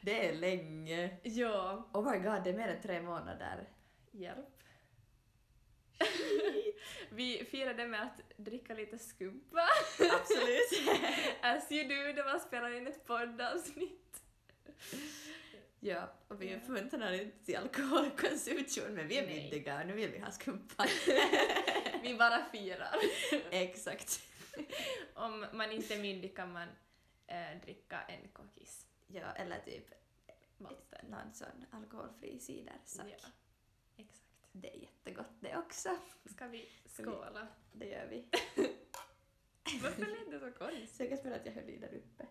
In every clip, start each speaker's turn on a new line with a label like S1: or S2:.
S1: Det är länge.
S2: Ja,
S1: Oh my god, det är mer än tre månader.
S2: hjälp. Vi firade med att dricka lite skumpa,
S1: Absolut.
S2: as you do när man spelar in ett poddavsnitt.
S1: ja, och vi
S2: Ja.
S1: uppmuntrar inte till alkoholkonsumtion, men vi är
S2: Nej.
S1: myndiga och nu vill vi ha skumpa.
S2: Vi bara firar.
S1: Exakt.
S2: Om man inte är myndig kan man eh, dricka en kokis
S1: Ja, eller typ
S2: vatten.
S1: någon sån alkoholfri cidersack.
S2: Ja, exakt.
S1: Det är jättegott det också.
S2: Ska vi
S1: Mm. vi-
S2: skåla?
S1: Det gör vi.
S2: Varför lät det så konstigt?
S1: Säkert för att jag höll i där uppe.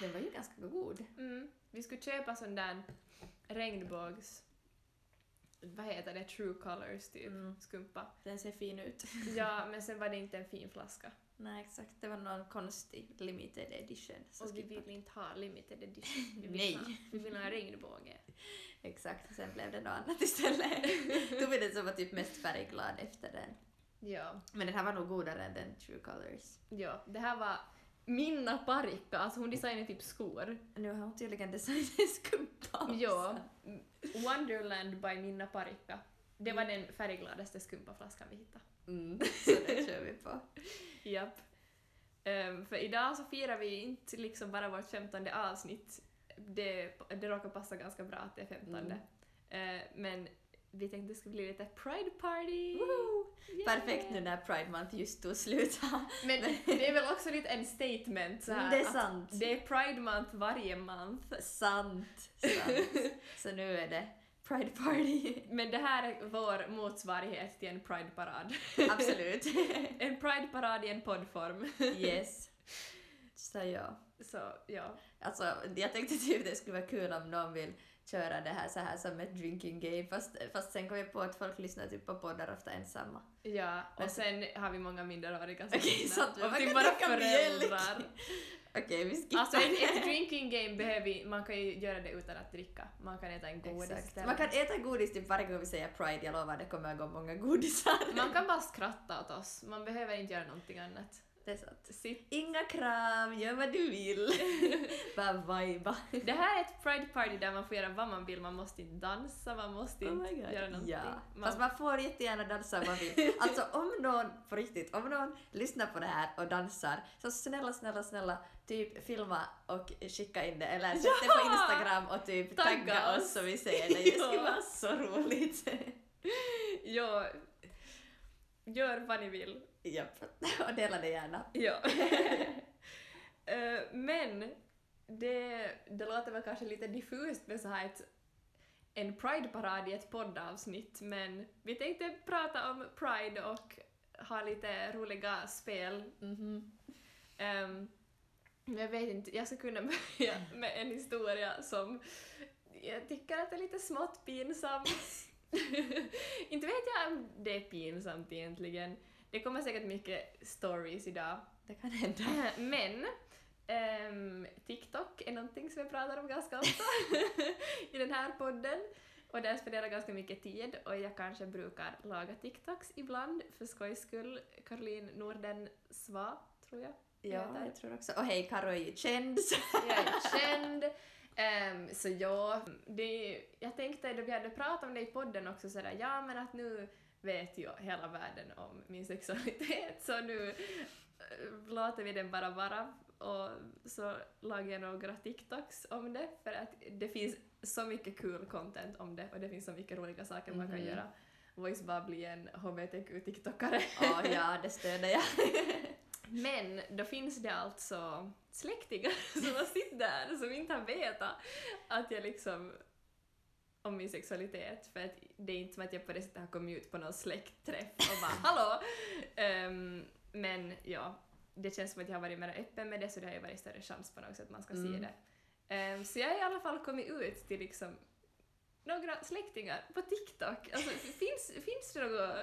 S1: Den var ju ganska god.
S2: Mm. Vi skulle köpa sån där regnbågs... Vad heter det? True colors typ.
S1: Mm.
S2: Skumpa.
S1: Den ser fin ut.
S2: Ja, men sen var det inte en fin flaska.
S1: Nej, exakt. Det var någon konstig limited edition. Så
S2: och vi
S1: skippa.
S2: vill inte ha limited edition. Vi vill
S1: Nej.
S2: Ha, vi vill ha en regnbåge.
S1: Exakt, sen blev det något annat istället. Tog vi den som var typ mest färgglad efter den.
S2: Ja.
S1: Men den här var nog godare än den True Colors.
S2: ja. Det här var Minna Parikka, alltså hon designade typ skor.
S1: Nu har hon tydligen designat skumpa också.
S2: Ja. Wonderland by Minna Parikka. Det var den färggladaste skumpaflaskan vi hittade.
S1: Mm, så det kör vi på.
S2: Japp. Ehm, för idag så firar vi inte liksom bara vårt femtonde avsnitt. Det, det råkar passa ganska bra att det är femtonde. Ehm, men vi tänkte det skulle bli lite Pride Party!
S1: Woho!
S2: Yay!
S1: Perfekt nu när Pride Month just tog slut.
S2: Men det är väl också lite en statement så här,
S1: Mm, Det är
S2: att
S1: sant.
S2: Det är Pride Month varje month.
S1: Sant, sant. Så nu är det Pride Party.
S2: Men det här är vår motsvarighet till en Pride-parad.
S1: Absolut.
S2: en Pride-parad i en poddform.
S1: Yes. Så ja.
S2: Så ja.
S1: Alltså, jag tänkte typ det skulle vara kul om någon vill köra det här så här som ett drinking game fast, fast sen kom jag på att folk lyssnar typ på poddar ofta ensamma.
S2: Ja,
S1: Men-
S2: och sen har vi många minderåriga som
S1: Okej, så
S2: lyssnar.
S1: att man
S2: Och typ
S1: kan
S2: bara
S1: dricka mjölk.
S2: föräldrar.
S1: Okej, vi skippar
S2: Alltså ett, ett
S1: det.
S2: drinking game behöver vi, man kan ju göra det utan att dricka. Man kan äta en godis
S1: Exakt.
S2: istället.
S1: Man kan äta godis typ varje gång vi säger Pride, jag lovar det kommer att gå många godisar.
S2: man kan bara skratta åt oss, man behöver inte göra någonting annat.
S1: Det är sant.
S2: Sitt.
S1: Inga krav, gör vad du vill. Bara viba.
S2: Det här är ett pride party där man får göra vad man vill, man måste inte dansa, man måste inte göra någonting.
S1: Oh Ja.
S2: Man,
S1: Fast man får jättegärna dansa om man vill. Alltså om någon, på riktigt, om någon lyssnar på det här och dansar, så snälla, snälla, snälla, typ filma och skicka in det eller sätt det på
S2: Ja!
S1: Instagram och typ tagga,
S2: Tagga
S1: oss.
S2: oss.
S1: så vi ser det. Det skulle
S2: Ja.
S1: vara så roligt.
S2: ja, gör vad ni vill.
S1: Japp. Och dela det gärna.
S2: Ja. Eh, Men det, det låter väl kanske lite diffust med så här ett, en Pride-parad i ett poddavsnitt, men vi tänkte prata om Pride och ha lite roliga spel. Mhm. Ehm, men jag vet inte, jag ska kunna börja med en historia som jag tycker att är lite smått pinsam. inte vet jag om det är pinsamt egentligen. Det kommer säkert mycket stories idag.
S1: Det kan hända.
S2: Men ehm, TikTok är någonting som jag pratar om ganska ofta i den här podden. Och där spenderar jag ganska mycket tid och jag kanske brukar laga TikToks ibland för skojs skull. Caroline Norden Sva, tror jag.
S1: Ja, jag tror också. Och hej, Karo är ju känd. så-
S2: Jag är känd. Ehm, så ja, det, jag tänkte då vi hade pratat om det i podden också sådär, ja men att nu vet ju hela världen om min sexualitet så nu eh, låter vi den bara vara och så lagar jag några TikToks om det för att det finns så mycket kul content om det och det finns så mycket roliga saker man kan
S1: Mhm.
S2: göra. Voice bara bli en HBTQ-tiktokare.
S1: Ja, ja, det stöder jag.
S2: Men då finns det alltså släktingar som har sitt där som inte har vetat att jag liksom om min sexualitet för att det är inte som att jag på det sättet har kommit ut på någon släktträff och bara hallå! Ehm, men ja, det känns som att jag har varit mer öppen med det så det har ju varit större chans på något sätt att man ska se
S1: Mm.
S2: det. Ehm, så jag har i alla fall kommit ut till liksom några släktingar på TikTok. Alltså finns, finns det något...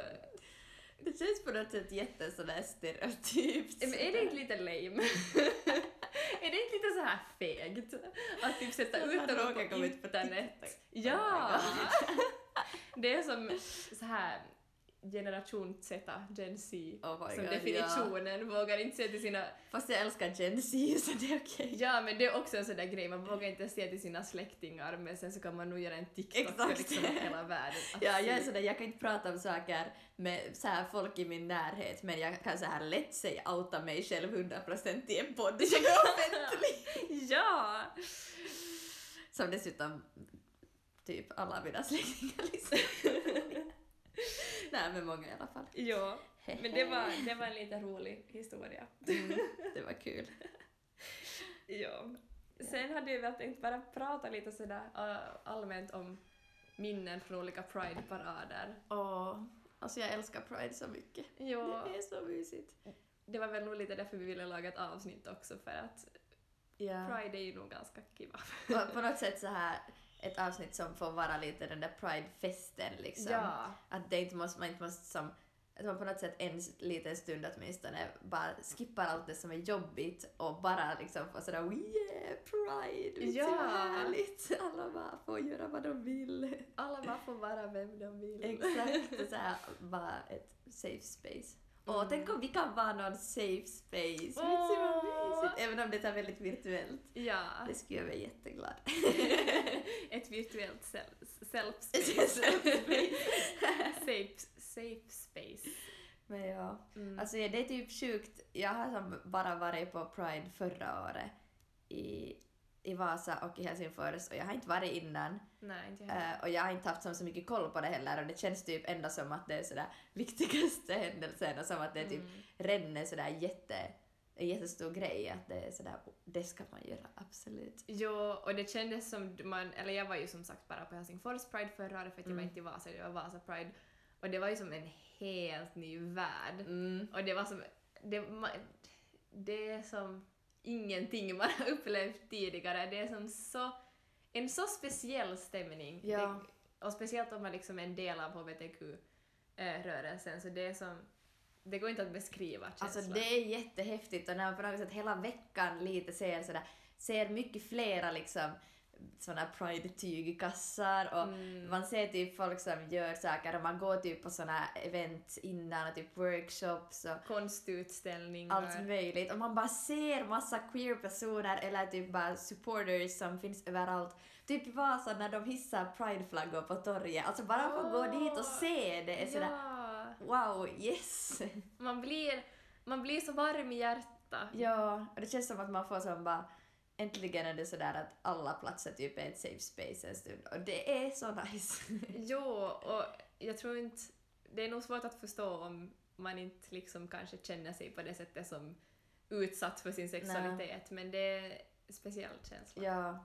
S1: Det känns på något sätt jätte sådär stereotypt.
S2: Men är det inte lite lame? är det inte lite så här fegt? Att typ sätta
S1: Att
S2: ut
S1: man
S2: dem
S1: råkar
S2: på
S1: komma ut på Oh
S2: internet?
S1: TikTok.
S2: ja!
S1: Oh my
S2: det är som så här generation Z, Gen Z,
S1: Oh my
S2: som
S1: god,
S2: definitionen vågar inte se till sina...
S1: Ja. Fast jag älskar Gen Z så det är okej.
S2: Ja, men det är också en sån där grej, man vågar inte se till sina släktingar men sen så kan man nog göra en TikTok
S1: Exakt.
S2: för liksom hela världen att
S1: Ja, jag är
S2: se.
S1: sådär, jag kan inte prata om saker med så här folk i min närhet men jag kan så här lätt säga outa mig själv 100% i en podd som är offentlig.
S2: Ja!
S1: Som dessutom typ alla mina släktingar lyssnar på. Nej men många i alla fall.
S2: Ja, men det var, det var en lite rolig historia.
S1: Mm, det var kul.
S2: Ja. Sen hade jag väl tänkt bara prata lite sådär äh, allmänt om minnen från olika Pride-parader.
S1: Åh, alltså jag älskar Pride så mycket.
S2: Ja,
S1: Det är så mysigt.
S2: det var väl nog lite därför vi ville laga ett avsnitt också för att
S1: Ja.
S2: Pride är ju nog ganska kiva.
S1: På, på något sätt så här ett avsnitt som får vara lite den där Pride-festen liksom.
S2: Ja.
S1: Att det inte måste, man inte måste som, att man på något sätt en liten stund åtminstone bara skippar allt det som är jobbigt och bara liksom får sådär yeah, pride, vet du
S2: Ja.
S1: vad härligt, alla bara får göra vad de vill.
S2: Alla bara får vara vem de vill.
S1: Exakt, och såhär bara ett safe space. Åh,
S2: Mm.
S1: tänk om vi kan vara någon safe space,
S2: Åh.
S1: vet du vad mysigt? Även om det är väldigt virtuellt.
S2: Ja,
S1: Det skulle jag vara jätteglad.
S2: ett virtuellt sel-
S1: Self-space.
S2: self-space. safe, safe space.
S1: Men ja.
S2: Mm.
S1: Alltså ja, det är typ sjukt. Jag har som bara varit på Pride förra året i, i Vasa och i Helsingfors och jag har inte varit innan
S2: Nej, inte jag heller.
S1: Eh, och jag har inte haft som så mycket koll på det heller och det känns typ ändå som att det är sådär viktigaste händelsen och som att det är typ
S2: Mm.
S1: redan är sådär jätte, en jättestor grej att det är sådär det ska man göra absolut.
S2: Jo, och det kändes som man, eller jag var ju som sagt bara på Helsingfors Pride förra året för att jag var
S1: Mm.
S2: inte i Vasa, det var Vasa Pride. Och det var ju som en helt ny värld.
S1: Mm.
S2: Och det var som, det, ma- det är som ingenting man har upplevt tidigare. Det är som så, en så speciell stämning.
S1: Ja.
S2: Det, och speciellt om man liksom är en del av HBTQ-rörelsen så det är som, det går inte att beskriva känslan.
S1: Alltså det är jättehäftigt och när man på något sätt hela veckan lite ser sådär, ser mycket flera liksom sådana pride-tygkassar och
S2: Mm.
S1: man ser typ folk som gör saker och man går typ på sådana event innan och typ workshops och
S2: Konstutställningar.
S1: allt möjligt och man bara ser massa queer personer eller typ bara supporters som finns överallt. Typ i Vasa när de hissar prideflaggor på torget, alltså bara få gå
S2: Åh,
S1: dit och se det är sådär
S2: Ja.
S1: wow, yes!
S2: Man blir, man blir så varm i hjärtat.
S1: Ja, och det känns som att man får som bara äntligen är det sådär att alla platser typ är ett safe space en stund och det är så nice.
S2: Jo, och jag tror inte... Det är nog svårt att förstå om man inte liksom kanske känner sig på det sättet som utsatt för sin sexualitet, men det är en speciell känsla.
S1: ja,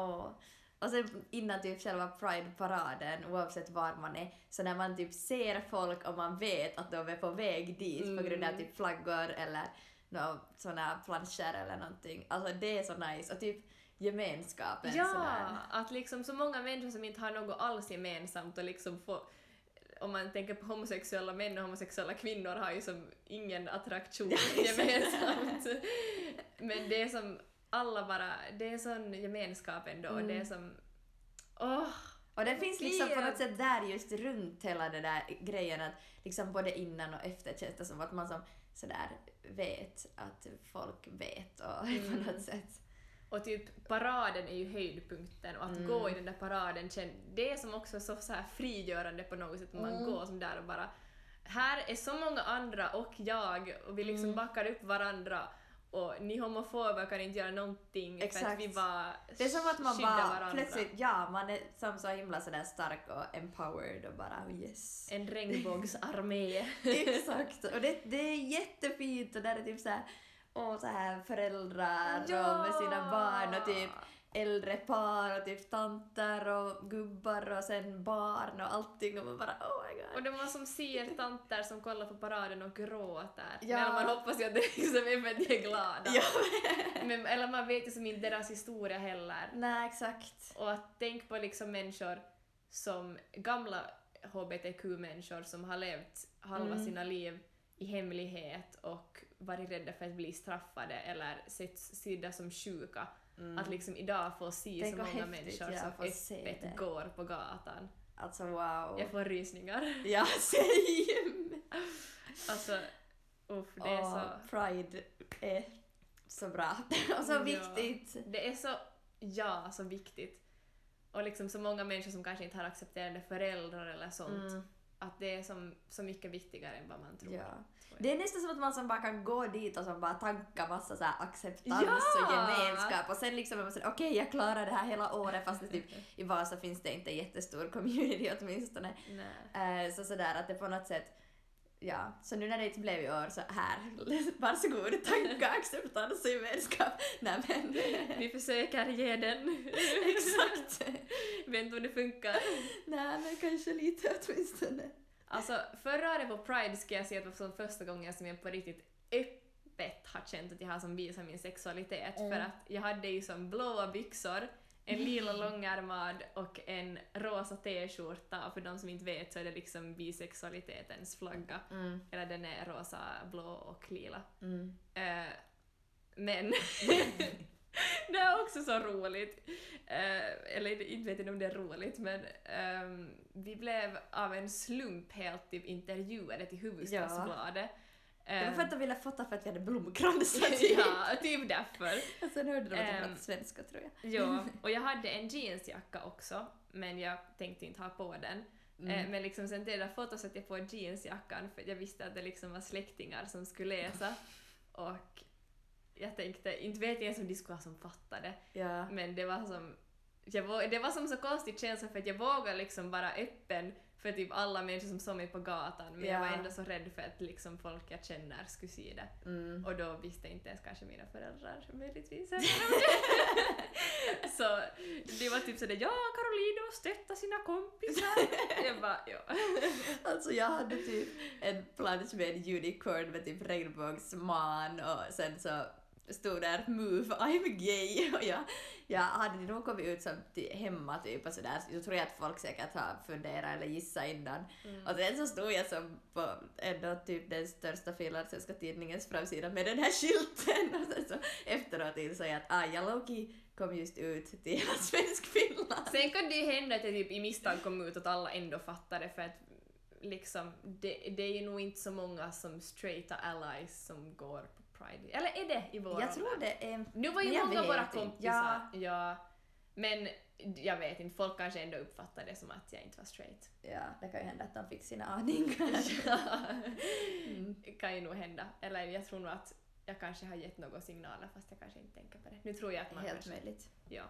S1: och, och sen innan typ själva Pride-paraden, oavsett var man är, så när man typ ser folk och man vet att de är på väg dit på grund av
S2: Mm.
S1: typ flaggor eller no, såna planscher eller någonting, alltså det är så nice och typ gemenskapen sådär.
S2: Ja, att liksom så många människor som inte har något alls gemensamt och liksom få, om man tänker på homosexuella män och homosexuella kvinnor har ju som ingen attraktion gemensamt. Men det är som alla bara, det är sån gemenskap ändå och det är som, åh!
S1: Och den finns liksom på
S2: Clear.
S1: något sätt där just runt hela den där grejen att liksom både innan och efter känns det som att man som sådär vet att folk vet och på
S2: Mm.
S1: något sätt.
S2: Och typ paraden är ju höjdpunkten och att
S1: Mm.
S2: gå i den där paraden, känn- det är som också så, så här frigörande på något sätt. Man
S1: Mm.
S2: går som där och bara här är så många andra och jag och vi
S1: Mm.
S2: liksom backar upp varandra och ni homofober kan inte göra någonting för
S1: Exakt.
S2: att vi bara
S1: Det är som att man
S2: skyddar
S1: bara
S2: varandra.
S1: plötsligt, ja man är som så himla sådär stark och empowered och bara oh yes.
S2: En regnbågsarmé.
S1: Exakt! Och det, det är jättefint och där är typ såhär, åh så här föräldrar och med sina barn och typ äldre par och typ tanter och gubbar och sen barn och allting och man bara oh my god.
S2: Och de var som ser tanter som kollar på paraden och gråter.
S1: Ja.
S2: Eller man hoppas ju att det liksom är för att de är glada.
S1: Ja.
S2: Men, eller man vet ju som inte deras historia heller.
S1: Nej, exakt.
S2: Och att tänk på liksom människor som gamla hbtq-människor som har levt halva
S1: Mm.
S2: sina liv i hemlighet och varit rädda för att bli straffade eller sett sidda som sjuka. Att liksom idag få se
S1: Mm. Tänk
S2: så
S1: vad
S2: många
S1: häftigt,
S2: människor
S1: ja,
S2: som
S1: få se
S2: öppet
S1: det.
S2: går på gatan.
S1: Alltså wow.
S2: Jag får rysningar.
S1: Ja, same!
S2: Alltså, uff, det är
S1: Åh,
S2: så...
S1: Pride är så bra och så
S2: Ja.
S1: viktigt.
S2: Det är så, ja, så viktigt. Och liksom så många människor som kanske inte har accepterande föräldrar eller sånt. Att det är som, så mycket viktigare än vad man tror.
S1: Ja.
S2: tror jag.
S1: Det är nästan som att man som bara kan gå dit och som bara tanka massa så här acceptans
S2: Ja!
S1: och gemenskap och sen liksom är man såhär okej jag klarar det här hela året
S2: Alltså,
S1: fast det typ i Vasa finns det inte en jättestor community åtminstone.
S2: Nej.
S1: Eh, Så sådär att det på något sätt Ja, så nu när det inte blev i år så här, varsågod, tanka, acceptans och gemenskap. Nej men,
S2: Vi försöker ge den.
S1: exakt.
S2: Vet inte om det funkar.
S1: Nej men kanske lite åtminstone.
S2: Alltså, förra året på Pride ska jag säga att det var som första gången som jag på riktigt öppet har känt att jag har som visat min sexualitet.
S1: Mm.
S2: För att jag hade ju som blåa byxor, en lila långärmad och en rosa t-skjorta. Och för de som inte vet så är det liksom bisexualitetens flagga.
S1: Mm,
S2: Eller den är rosa, blå och lila.
S1: mm.
S2: Eh, men det är också så roligt. Eh, eller inte vet jag om det är roligt men ehm, vi blev av en slump helt typ intervjuade till Huvudstadsbladet.
S1: Det var för att de ville fota för att vi hade blomkransar
S2: Ehm, Ja, typ därför.
S1: Och sen hörde de att jag
S2: Ehm.
S1: pratade svenska tror jag.
S2: Ja, och jag hade en jeansjacka också men jag tänkte inte ha på den.
S1: Mm.
S2: Eh, Men liksom sen det där fotot satte jag på jeansjackan för jag visste att det liksom var släktingar som skulle läsa. Och jag tänkte, inte vet jag ens om de skulle ha som fattade,
S1: Ja.
S2: men det var som jag vå- det var som så konstig känsla för att jag vågade liksom vara öppen för typ alla människor som såg mig på gatan men jag
S1: Ja.
S2: var ändå så rädd för att liksom folk jag känner skulle se det.
S1: Mm.
S2: Och då visste inte ens kanske mina föräldrar möjligtvis. eller vad. så det var typ sådär ja Carolina stötta sina kompisar. jag bara ja.
S1: Alltså jag hade typ en plansch med en unicorn med typ regnbågsman och sen så stod där move I'm gay och jag, jag hade nog kommit ut som ty- hemma typ och sådär. Så tror jag att folk säkert har funderat eller gissat innan. Och sen så stod jag som på ändå typ den största finlandssvenska tidningens framsida med den här skylten och sen så efteråt insåg jag att ah, jag lowkey kom just ut till hela svensk Finland.
S2: Sen kan det ju hända att jag typ i misstag kom ut att alla ändå fattade för att liksom det, det är ju nog inte så många som straighta allies som går på Pride. Eller är det i vår
S1: Jag tror
S2: ålder?
S1: det är...
S2: Nu var ju
S1: Men jag
S2: många
S1: vet
S2: våra
S1: inte.
S2: kompisar. Ja. Men jag vet inte, folk kanske ändå uppfattade det som att jag inte var straight.
S1: Ja, det kan ju hända att de fick sina aningar. Mm.
S2: kan ju nog hända. Eller jag tror nog att jag kanske har gett några signaler fast jag kanske inte tänker på det. Nu tror jag att man
S1: Helt
S2: kanske...
S1: möjligt.
S2: Ja.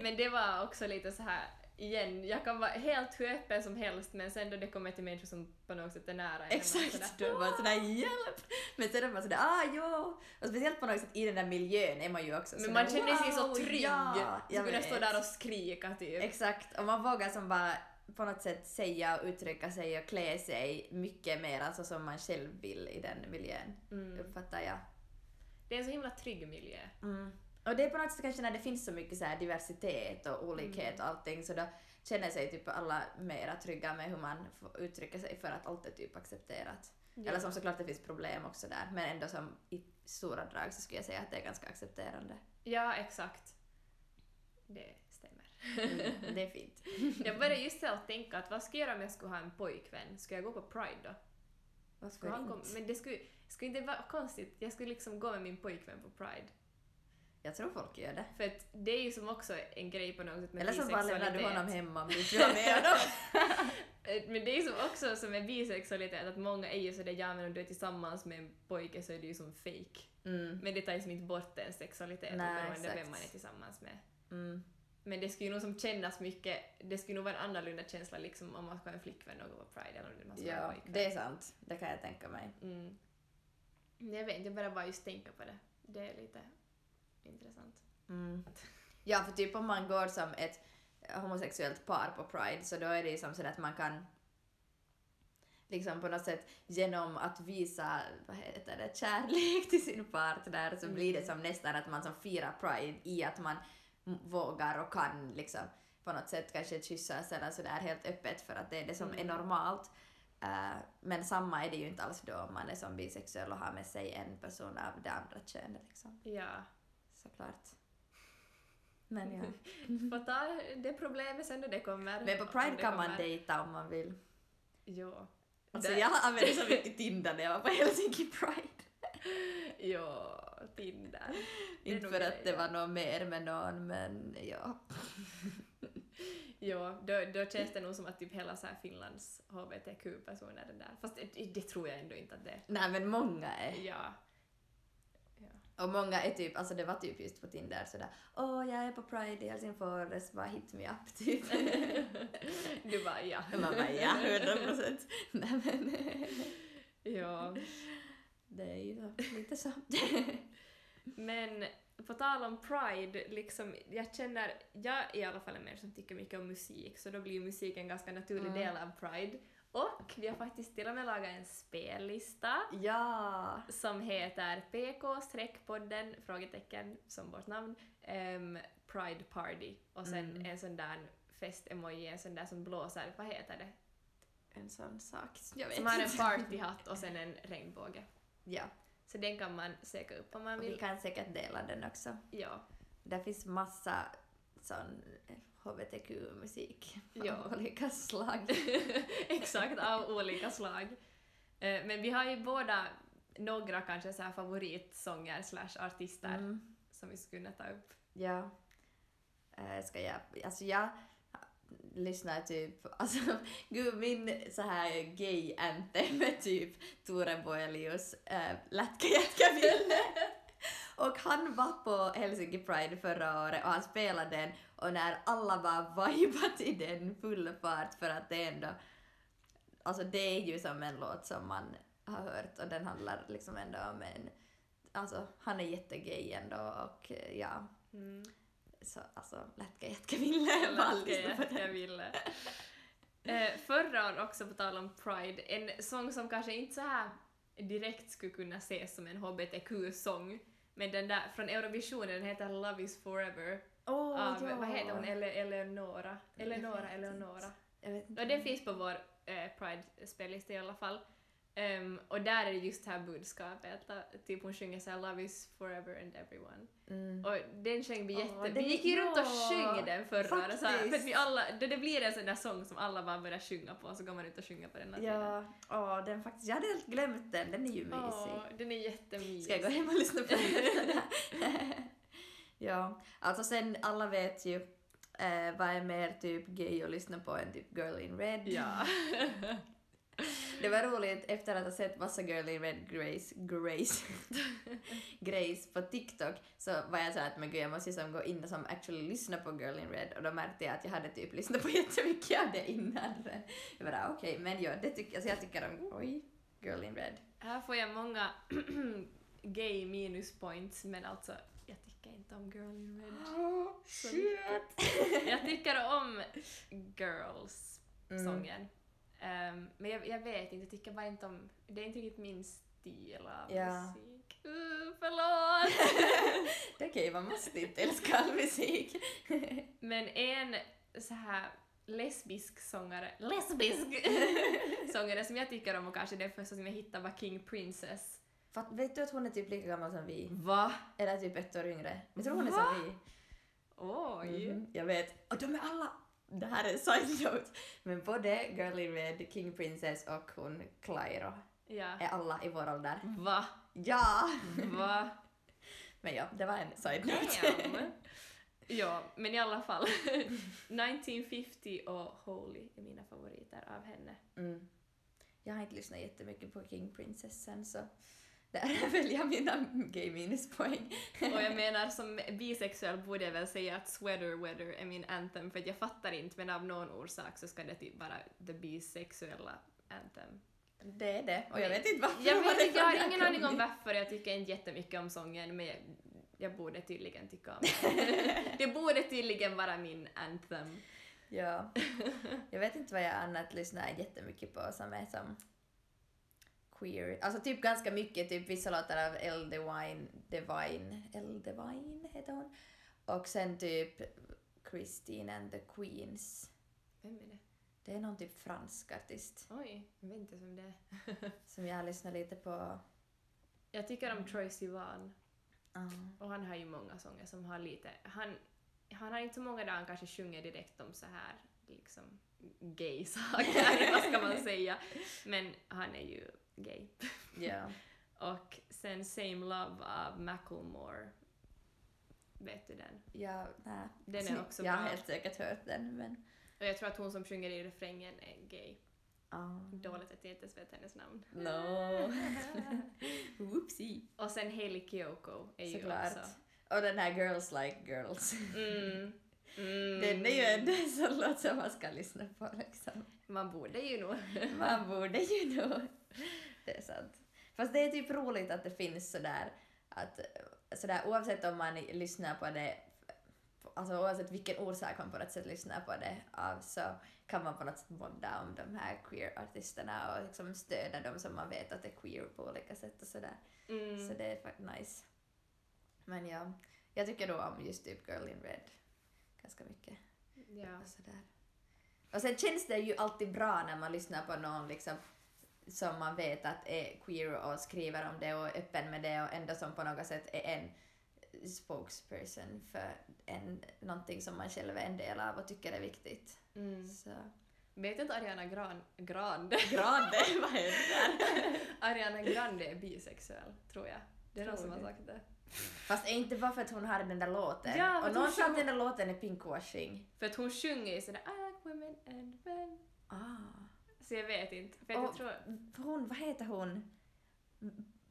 S2: Men det var också lite så här igen, jag kan vara helt hur öppen som helst men sen då det kommer till människor som på något sätt är nära en, man är
S1: Exakt,
S2: sådär,
S1: då är man sådär hjälp! Men sen är man sådär ah jo! Och speciellt på något sätt i den där miljön är man ju också
S2: Men
S1: sådär,
S2: man känner sig så
S1: wow,
S2: trygg.
S1: Ja,
S2: så
S1: jag
S2: kunna
S1: vet.
S2: stå där och skrika typ.
S1: Exakt, och man vågar som bara på något sätt säga och uttrycka sig och klä sig mycket mer alltså som man själv vill i den miljön.
S2: Mm.
S1: Uppfattar jag.
S2: Det är en så himla trygg miljö.
S1: Mm. Och det är på något sätt kanske när det finns så mycket så här diversitet och olikhet och allting så då känner sig typ alla mera trygga med hur man får uttrycka sig för att allt är typ accepterat. Eller som såklart det finns problem också där, men ändå som i stora drag så skulle jag säga att det är ganska accepterande.
S2: Ja, exakt. Det stämmer.
S1: Mm, det är fint.
S2: Jag började just så att tänka att vad ska jag göra om jag skulle ha en pojkvän? Ska jag gå på Pride då?
S1: Varför
S2: Skulle han kom,
S1: inte?
S2: men det skulle, skulle inte vara konstigt. Jag skulle liksom gå med min pojkvän på Pride.
S1: Jag tror folk gör det.
S2: För att det är ju som också en grej på något sätt med
S1: Eller så bara lämnar du
S2: bisexualitet.
S1: honom hemma om du inte vill vara med honom.
S2: Eh, Men det är ju som också som med bisexualitet att många är ju sådär ja men om du är tillsammans med en pojke så är du ju som fake.
S1: Mm,
S2: Men det tar ju som inte bort ens sexualitet
S1: Nej,
S2: oberoende
S1: exakt.
S2: vem man är tillsammans med.
S1: mm.
S2: Men det skulle ju nog som kännas mycket, det skulle nog vara en annorlunda känsla liksom om man ska ha en flickvän och gå på Pride eller om man ska ha
S1: Ja,
S2: en pojkvän.
S1: det är sant. Det kan jag tänka mig.
S2: Mm. Men Jag vet inte, jag börjar bara just tänka på det. Det är lite intressant.
S1: Mm. Ja, för typ om man går som ett homosexuellt par på Pride så då är det ju som så att man kan liksom på något sätt genom att visa vad heter det, kärlek till sin partner så blir det som nästan att man som firar Pride i att man m- vågar och kan liksom på något sätt kanske kyssas eller sådär helt öppet för att det är det som är normalt. Eh, men samma är det ju inte alls då om man är som bisexuell och har med sig en person av det andra könet liksom.
S2: Ja.
S1: Såklart. Men ja.
S2: Får ta det problemet sen när det kommer.
S1: Men på
S2: Om
S1: Pride
S2: det
S1: kan man
S2: kommer.
S1: dejta om man vill.
S2: Jo.
S1: Alltså
S2: Där-
S1: jag använde så mycket Tinder när jag var på Helsinki Pride.
S2: Jo, Tinder. Det är
S1: Inte
S2: nog
S1: för att
S2: grejen.
S1: det var någon mer med någon men ja.
S2: Jo, då, då känns det nog som att typ hela så här Finlands HBTQ-personer är där. Fast det, det tror jag ändå inte att det är.
S1: Nej men många är.
S2: Ja.
S1: Och många är typ, alltså det var typ just på Tinder sådär åh jag är på Pride i Helsingfors, bara hit me up typ.
S2: Du bara ja.
S1: Och man bara ja, hundra procent. Nej men
S2: Ja.
S1: det är ju så- lite så.
S2: Men på tal om Pride, liksom, jag känner, jag är i alla fall en människa som tycker mycket om musik, så då blir ju musik en ganska naturlig
S1: Mm.
S2: del av Pride. Och vi har faktiskt till och med lagat en spellista
S1: Ja!
S2: som heter PK-podden, frågetecken, som vårt namn, ehm, Pride Party. Och sen
S1: Mm.
S2: en sån där fest-emoji, en sån där som blåser, vad heter det?
S1: En sån sak. Jag vet
S2: Som har en
S1: inte.
S2: partyhatt och sen en regnbåge.
S1: Ja,
S2: Så den kan man söka upp om man
S1: och vi
S2: vill.
S1: kan säkert dela den också.
S2: Ja.
S1: Där finns massa sån HBTQ-musik
S2: Ja.
S1: av olika slag.
S2: Exakt, av olika slag. Eh, Men vi har ju båda några kanske så här favoritsånger slash artister
S1: Mm.
S2: som vi skulle kunna ta upp.
S1: Ja. Eh, Ska jag, alltså jag lyssnar typ, alltså gud min så här gay anthem är typ Tore Boelius äh, Lätkä jätkä Ville. Och han var på Helsinki Pride förra året och han spelade den och när alla bara vibat i den full fart för att det ändå, alltså det är ju som en låt som man har hört och den handlar liksom ändå om en, alltså han är jättegay ändå och eh, ja,
S2: Mm.
S1: så alltså Lätkä jätkä Ville var liksom på
S2: jag
S1: den.
S2: ville. Eh, Förra året också på tal om Pride, en sång som kanske inte så här direkt skulle kunna ses som en HBTQ-sång, men den där från Eurovisionen, den heter Love is forever
S1: Åh,
S2: av,
S1: ja.
S2: vad heter hon, Ele- Eleonora?
S1: Jag vet
S2: Eleonora,
S1: inte.
S2: Eleonora.
S1: Jag vet inte.
S2: Och den finns på vår eh, Pride-spellista i alla fall. Ehm, och där är det just det här budskapet, att typ hon sjunger såhär “Love is forever and everyone”.
S1: Mm.
S2: Och den sjöng vi
S1: Åh,
S2: jätte... vi
S1: den-
S2: gick ju runt och
S1: ja,
S2: sjöng den förra året, så här, för att vi
S1: faktiskt.
S2: alla, då det blir en sån där sång som alla bara börjar sjunga på, så går man ut och sjunger på den här
S1: Ja, åh, den faktiskt, jag hade helt glömt den, den är ju
S2: tiden.
S1: mysig.
S2: Åh, den är jättemysig.
S1: Ska jag gå hem och lyssna på den? ja, alltså sen alla vet ju eh, vad är mer typ gay att lyssna på än typ Girl in Red.
S2: Ja.
S1: Det var roligt efter att ha sett massa Girl in Red Grace, Grace, Grace på TikTok så var jag så här att men gud jag måste ju som gå in och som actually lyssna på Girl in Red och då märkte jag att jag hade typ lyssnat på jättemycket av det innan. Jag bara "Ah, okej men ja, det tycker alltså jag tycker om, oj, Girl in Red.
S2: Här får jag många gay minuspoints, men alltså jag tycker inte om Girl in Red. Jag tycker om Girls-sången.
S1: Mm.
S2: Ehm, men jag, jag vet inte, jag tycker bara inte om... Det är inte riktigt min stil av
S1: Ja.
S2: musik. Uh, förlåt!
S1: Det är okej, man måste inte älska all musik.
S2: men en så här lesbisk sångare... Lesbisk! sångare som jag tycker om och kanske den första som jag hittade var King Princess.
S1: Fast vet du att hon är typ lika gammal som vi?
S2: Va?
S1: Eller typ ett år yngre. Jag tror hon är som vi.
S2: Oj!
S1: Mhm, jag vet. Och de är alla... Det här är en side note. Men både Girl in Red, King Princess och hon Clairo
S2: Ja.
S1: är alla i vår ålder.
S2: Va?
S1: Ja!
S2: Va?
S1: Men ja, det var en side note.
S2: Damn. ja, men i alla fall. 1950 och Holy är mina favoriter av henne.
S1: Mm. Jag har inte lyssnat jättemycket på King Princess sen så där väljer jag mina gay minuspoäng.
S2: Och jag menar som bisexuell borde jag väl säga att Sweater Weather är min anthem för att jag fattar inte men av någon orsak så ska det typ vara the bisexuella anthem.
S1: Det är det. Och jag vet inte varför.
S2: Jag,
S1: var
S2: vet,
S1: det
S2: inte, jag
S1: från
S2: har
S1: där
S2: ingen
S1: kom
S2: aning om
S1: det.
S2: varför jag tycker inte jättemycket om sången men jag, jag borde tydligen tycka om den. Det borde tydligen vara min anthem.
S1: Ja. Jag vet inte vad jag annat lyssnar jättemycket på som är som queer. Alltså typ ganska mycket, typ vissa låtar av Elle Devine, Devine, Elle Devine heter hon. Och sen typ Christine and the Queens.
S2: Vem är det?
S1: Det är någon typ fransk artist
S2: Oj, jag vet inte vem det är.
S1: som jag lyssnar lite på.
S2: Jag tycker om Troye Sivan.
S1: Mm.
S2: Och han har ju många sånger som har lite... Han han har inte så många dagar han kanske sjunger direkt om så här liksom gay-saker, vad ska man säga. Men han är ju gay.
S1: Ja.
S2: Och sen Same Love av Macklemore. Vet du den?
S1: Ja, nä.
S2: Den är också
S1: Jag har
S2: bra.
S1: helt säkert hört den, men...
S2: Och jag tror att hon som sjunger i refrängen är gay.
S1: Ah.
S2: Dåligt att jag inte ens vet hennes namn.
S1: No. Whoopsie.
S2: Och sen Hailey Kyoko är ju
S1: Såklart.
S2: också...
S1: Och den här Girls Like Girls.
S2: Mm. Mm.
S1: Den är ju ändå en sån låt som man ska lyssna på liksom.
S2: Man borde ju nog...
S1: Man borde ju nog. Det är sant. Fast det är typ roligt att det finns sådär att eh, sådär oavsett om man lyssnar på det Alltså oavsett vilken orsak man på något sätt lyssnar på det av så kan man på något sätt bonda om de här queer-artisterna och liksom stödja dem som man vet att är queer på olika sätt och sådär.
S2: Mm.
S1: Så det är faktiskt nice. Men ja, jag tycker då om just typ Girl in Red ganska mycket.
S2: Ja.
S1: Och, sådär. och sen känns det ju alltid bra när man lyssnar på någon liksom, som man vet att är queer och skriver om det och är öppen med det och ändå som på något sätt är en spokesperson för en, någonting som man själv är en del av och tycker är viktigt.
S2: Mm.
S1: Så.
S2: Vet du att Ariana Gran... Grande?
S1: Grande, vad händer?
S2: Ariana Grande är bisexuell, tror jag. Det är någon
S1: Tror
S2: som har
S1: du?
S2: sagt det.
S1: Fast är inte bara för att hon har den där låten.
S2: Ja, för
S1: och
S2: att hon
S1: någon sa att
S2: sjunger-
S1: den där låten är pinkwashing.
S2: För att hon sjunger ju sådär I like women and men.
S1: Ah.
S2: Så jag vet inte. För att
S1: Och-
S2: jag tror...
S1: Hon, vad heter hon?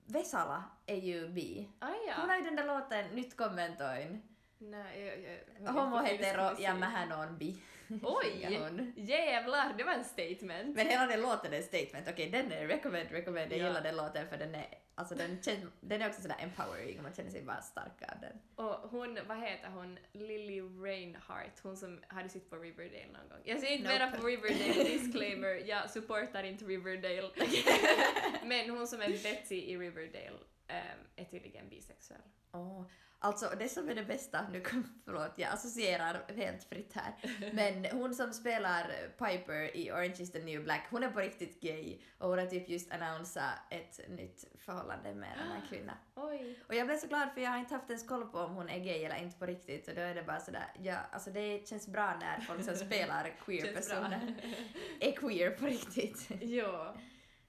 S1: Vesala är ju bi.
S2: Ah,
S1: Hon
S2: ja.
S1: har ju den där låten Nytt kommentoin.
S2: Nej, jag, jag, jag
S1: Homo
S2: vet inte hur vi
S1: hetero
S2: ska
S1: ja
S2: se.
S1: mähän on bi.
S2: Oj!
S1: Sjunger hon.
S2: Jävlar, det var en statement.
S1: Men hela den låten är ett statement. Okej, den är recommend, recommend. Jag
S2: Ja.
S1: gillar den låten för den är, alltså den, känns, den är också sådär empowering. Man känner sig bara stark av den.
S2: Och hon, vad heter hon, Lily Reinhardt, hon som hade sitt på Riverdale någon gång. Jag ser inte
S1: Nope.
S2: mera på Riverdale, disclaimer, jag supportar inte Riverdale. Men hon som är Betsy i Riverdale ehm, är tydligen bisexuell.
S1: Åh, Alltså det som är det bästa, nu kom, förlåt jag associerar helt fritt här, men hon som spelar Piper i Orange is the new black, hon är på riktigt gay och hon har typ just annonsat ett nytt förhållande med den här kvinnan.
S2: Oj!
S1: Och jag blev så glad för jag har inte haft ens koll på om hon är gay eller inte på riktigt och då är det bara sådär, ja alltså det känns bra när folk som spelar
S2: Känns bra.
S1: queer-personer är queer på riktigt.
S2: jo.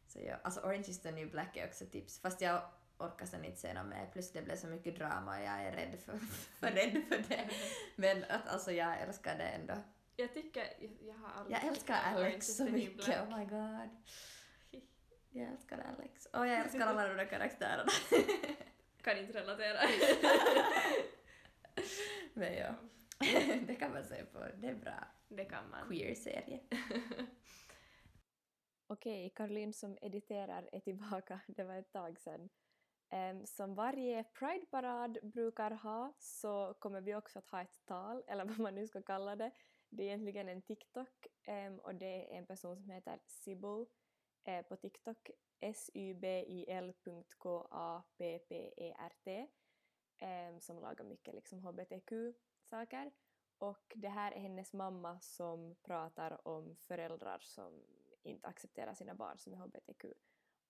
S1: Så ja, alltså Orange is the new black är också tips. Fast jag orkar sen inte se något mer. Plus det blev så mycket drama och jag är rädd för, för, rädd för det. Men att, alltså jag älskar det ändå.
S2: Jag tycker, jag, jag har aldrig
S1: Jag älskar
S2: tittat på Orange
S1: Alex
S2: is
S1: så
S2: the New
S1: mycket.
S2: Black.
S1: Oh my god. Jag älskar Alex. Och jag älskar alla de där karaktärerna.
S2: Kan inte relatera.
S1: Men ja, det kan man se på. Det är bra.
S2: Det kan man.
S1: Queer-serie.
S3: Okej, Caroline som editerar är tillbaka, det var ett tag sedan. Ehm, som varje Pride-parad brukar ha så kommer vi också att ha ett tal, eller vad man nu ska kalla det. Det är egentligen en TikTok ehm, och det är en person som heter Sibyl eh, på TikTok, E sybil.kappert ehm, som lagar mycket liksom hbtq-saker. Och det här är hennes mamma som pratar om föräldrar som inte accepterar sina barn som är hbtq.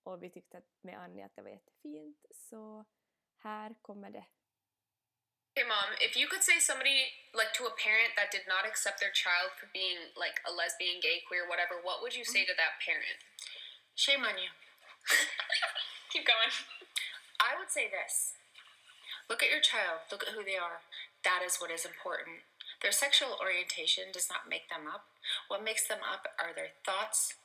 S3: Och vi tyckte att med Annie att det var jättefint, så här kommer det.
S4: Hey, mom, if you could say somebody, like to a parent that did not accept their child for being like a lesbian, gay, queer, whatever, what would you say to that parent? Shame on you. Keep going. I would say this Look at your child, look at who they are. That is what is important. Their sexual orientation does not make them up. What makes them up are their thoughts,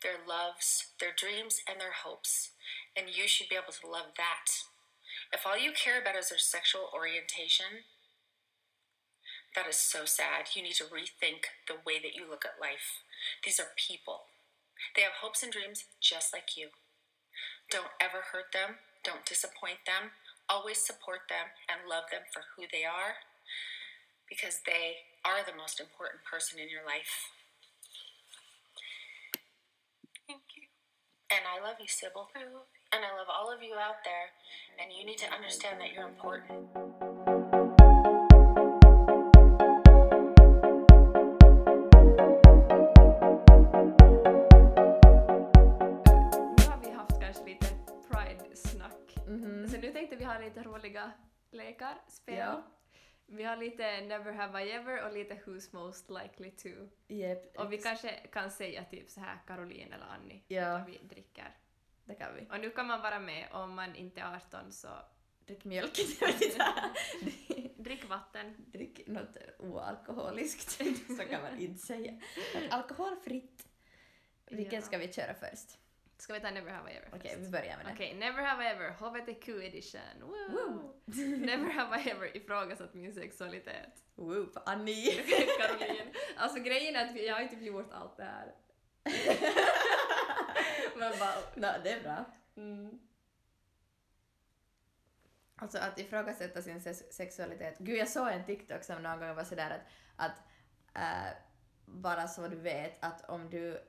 S4: their loves, their dreams, and their hopes. And you should be able to love that. If all you care about is their sexual orientation, that is so sad. You need to rethink the way that you look at life. These are people. They have hopes and dreams just like you. Don't ever hurt them, don't disappoint them. Always support them and love them for who they are because they are the most important person in your life. Thank you. And I love you, Sybil. I love you. And I love all of you out there. And you need to understand that you're important.
S2: Nu har vi haft kanske lite
S1: Mhm.
S3: Mm.
S2: Pride-snack. Så nu tänkte vi ha lite roliga lekar, spel.
S1: Ja.
S2: Vi har lite Never have I ever och lite Who's most likely to.
S1: Jep,
S2: Och vi
S1: ex-
S2: kanske kan säga typ så här Caroline eller Annie
S1: Ja.
S2: när vi dricker.
S1: Det kan vi.
S2: Och nu kan man vara med om man inte är 18 så
S1: Drick mjölk. jag vet inte.
S2: drick vatten.
S1: Drick något oalkoholiskt. Så kan man inte säga. Men Alkoholfritt. Vilken
S2: Ja.
S1: ska vi köra först?
S2: Ska vi ta Never have I ever
S1: Okej,
S2: först?
S1: vi börjar med det.
S2: Okej, Never have I ever, HBTQ edition. Woo!
S1: Woo!
S2: Never have I ever ifrågasatt min sexualitet.
S1: Whoop, Annie!
S2: Caroline. Alltså grejen är att vi- jag har ju typ gjort allt det här. Men bara...
S1: Nå, det är bra.
S2: Mm.
S1: Alltså att ifrågasätta sin se- sexualitet. Gud, jag såg en TikTok som någon gång var sådär att, att äh, bara så du vet att om du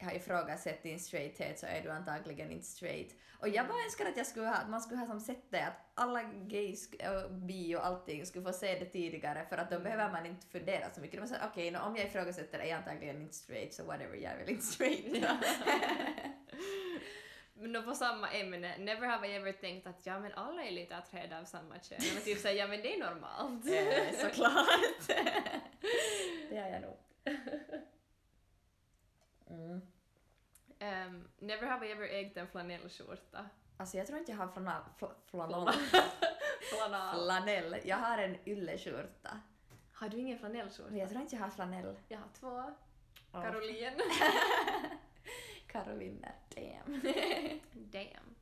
S1: har ifrågasatt din straighthet så är du antagligen inte straight. Och jag bara önskar att, jag skulle ha, att man skulle ha som sett det, att alla gays och bi och allting skulle få se det tidigare för att då behöver man inte fundera så mycket. De säger okej, nå, om jag ifrågasätter är jag antagligen inte straight så whatever, jag är väl inte straight.
S2: Men då på samma ämne, never have I ever tänkt att ja men alla är lite attraherade av samma kön. Jag var typ såhär, ja men det är normalt.
S1: Eh, Såklart. det har jag nog. Mm.
S2: Ehm, never have I ever ägt en flanellskjorta.
S1: Alltså jag tror inte jag har flanell... Fl- flanell.
S2: Flanell.
S1: flanell. Jag har en ylleskjorta.
S2: Har du ingen flanellskjorta?
S1: Men jag tror inte jag har flanell.
S2: Jag har två.
S1: Åh,
S2: Caroline.
S1: Karolina, damn.
S2: Damn.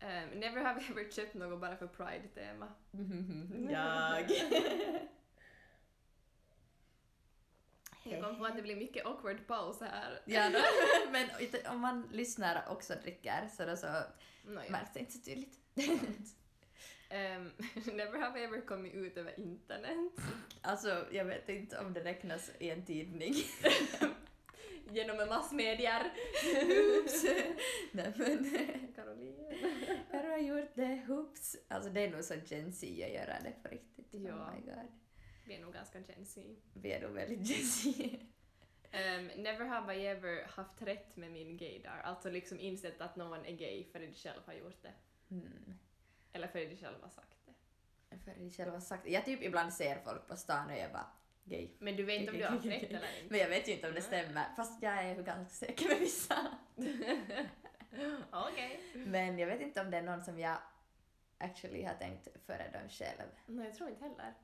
S2: Ehm, never have I ever köpt något bara för pride-tema.
S1: jag.
S2: Jag kom på att det blir mycket awkward paus här.
S1: Ja, då, men inte- om man lyssnar och också dricker så då så
S2: Nåja.
S1: märks det inte så tydligt.
S2: Ehm, never have I ever kommit ut över internet.
S1: Alltså jag vet inte om det räknas i en tidning.
S2: Genom massmedier.
S1: Oops. Nej men.
S2: Caroline.
S1: Har du gjort det? Hoops! Alltså det är nog så Gen Z att göra det på riktigt.
S2: Ja.
S1: Oh my god.
S2: Vi är nog ganska Gen Z.
S1: Vi är nog väldigt Gen Z.
S2: Ehm, never have I ever haft rätt med min gaydar. Alltså liksom insett att någon är gay förrän du själv har gjort det.
S1: Mm.
S2: Eller förrän du själv har sagt det.
S1: För det själva sagt. Jag typ ibland ser folk på stan och jag bara gay.
S2: Men du vet inte om du har haft rätt eller inte.
S1: Men jag vet ju inte om det stämmer. Fast jag är ju ganska säker med vissa.
S2: Okej.
S1: Men jag vet inte om det är någon som jag actually har tänkt före dem själv.
S2: Nej, jag tror inte heller.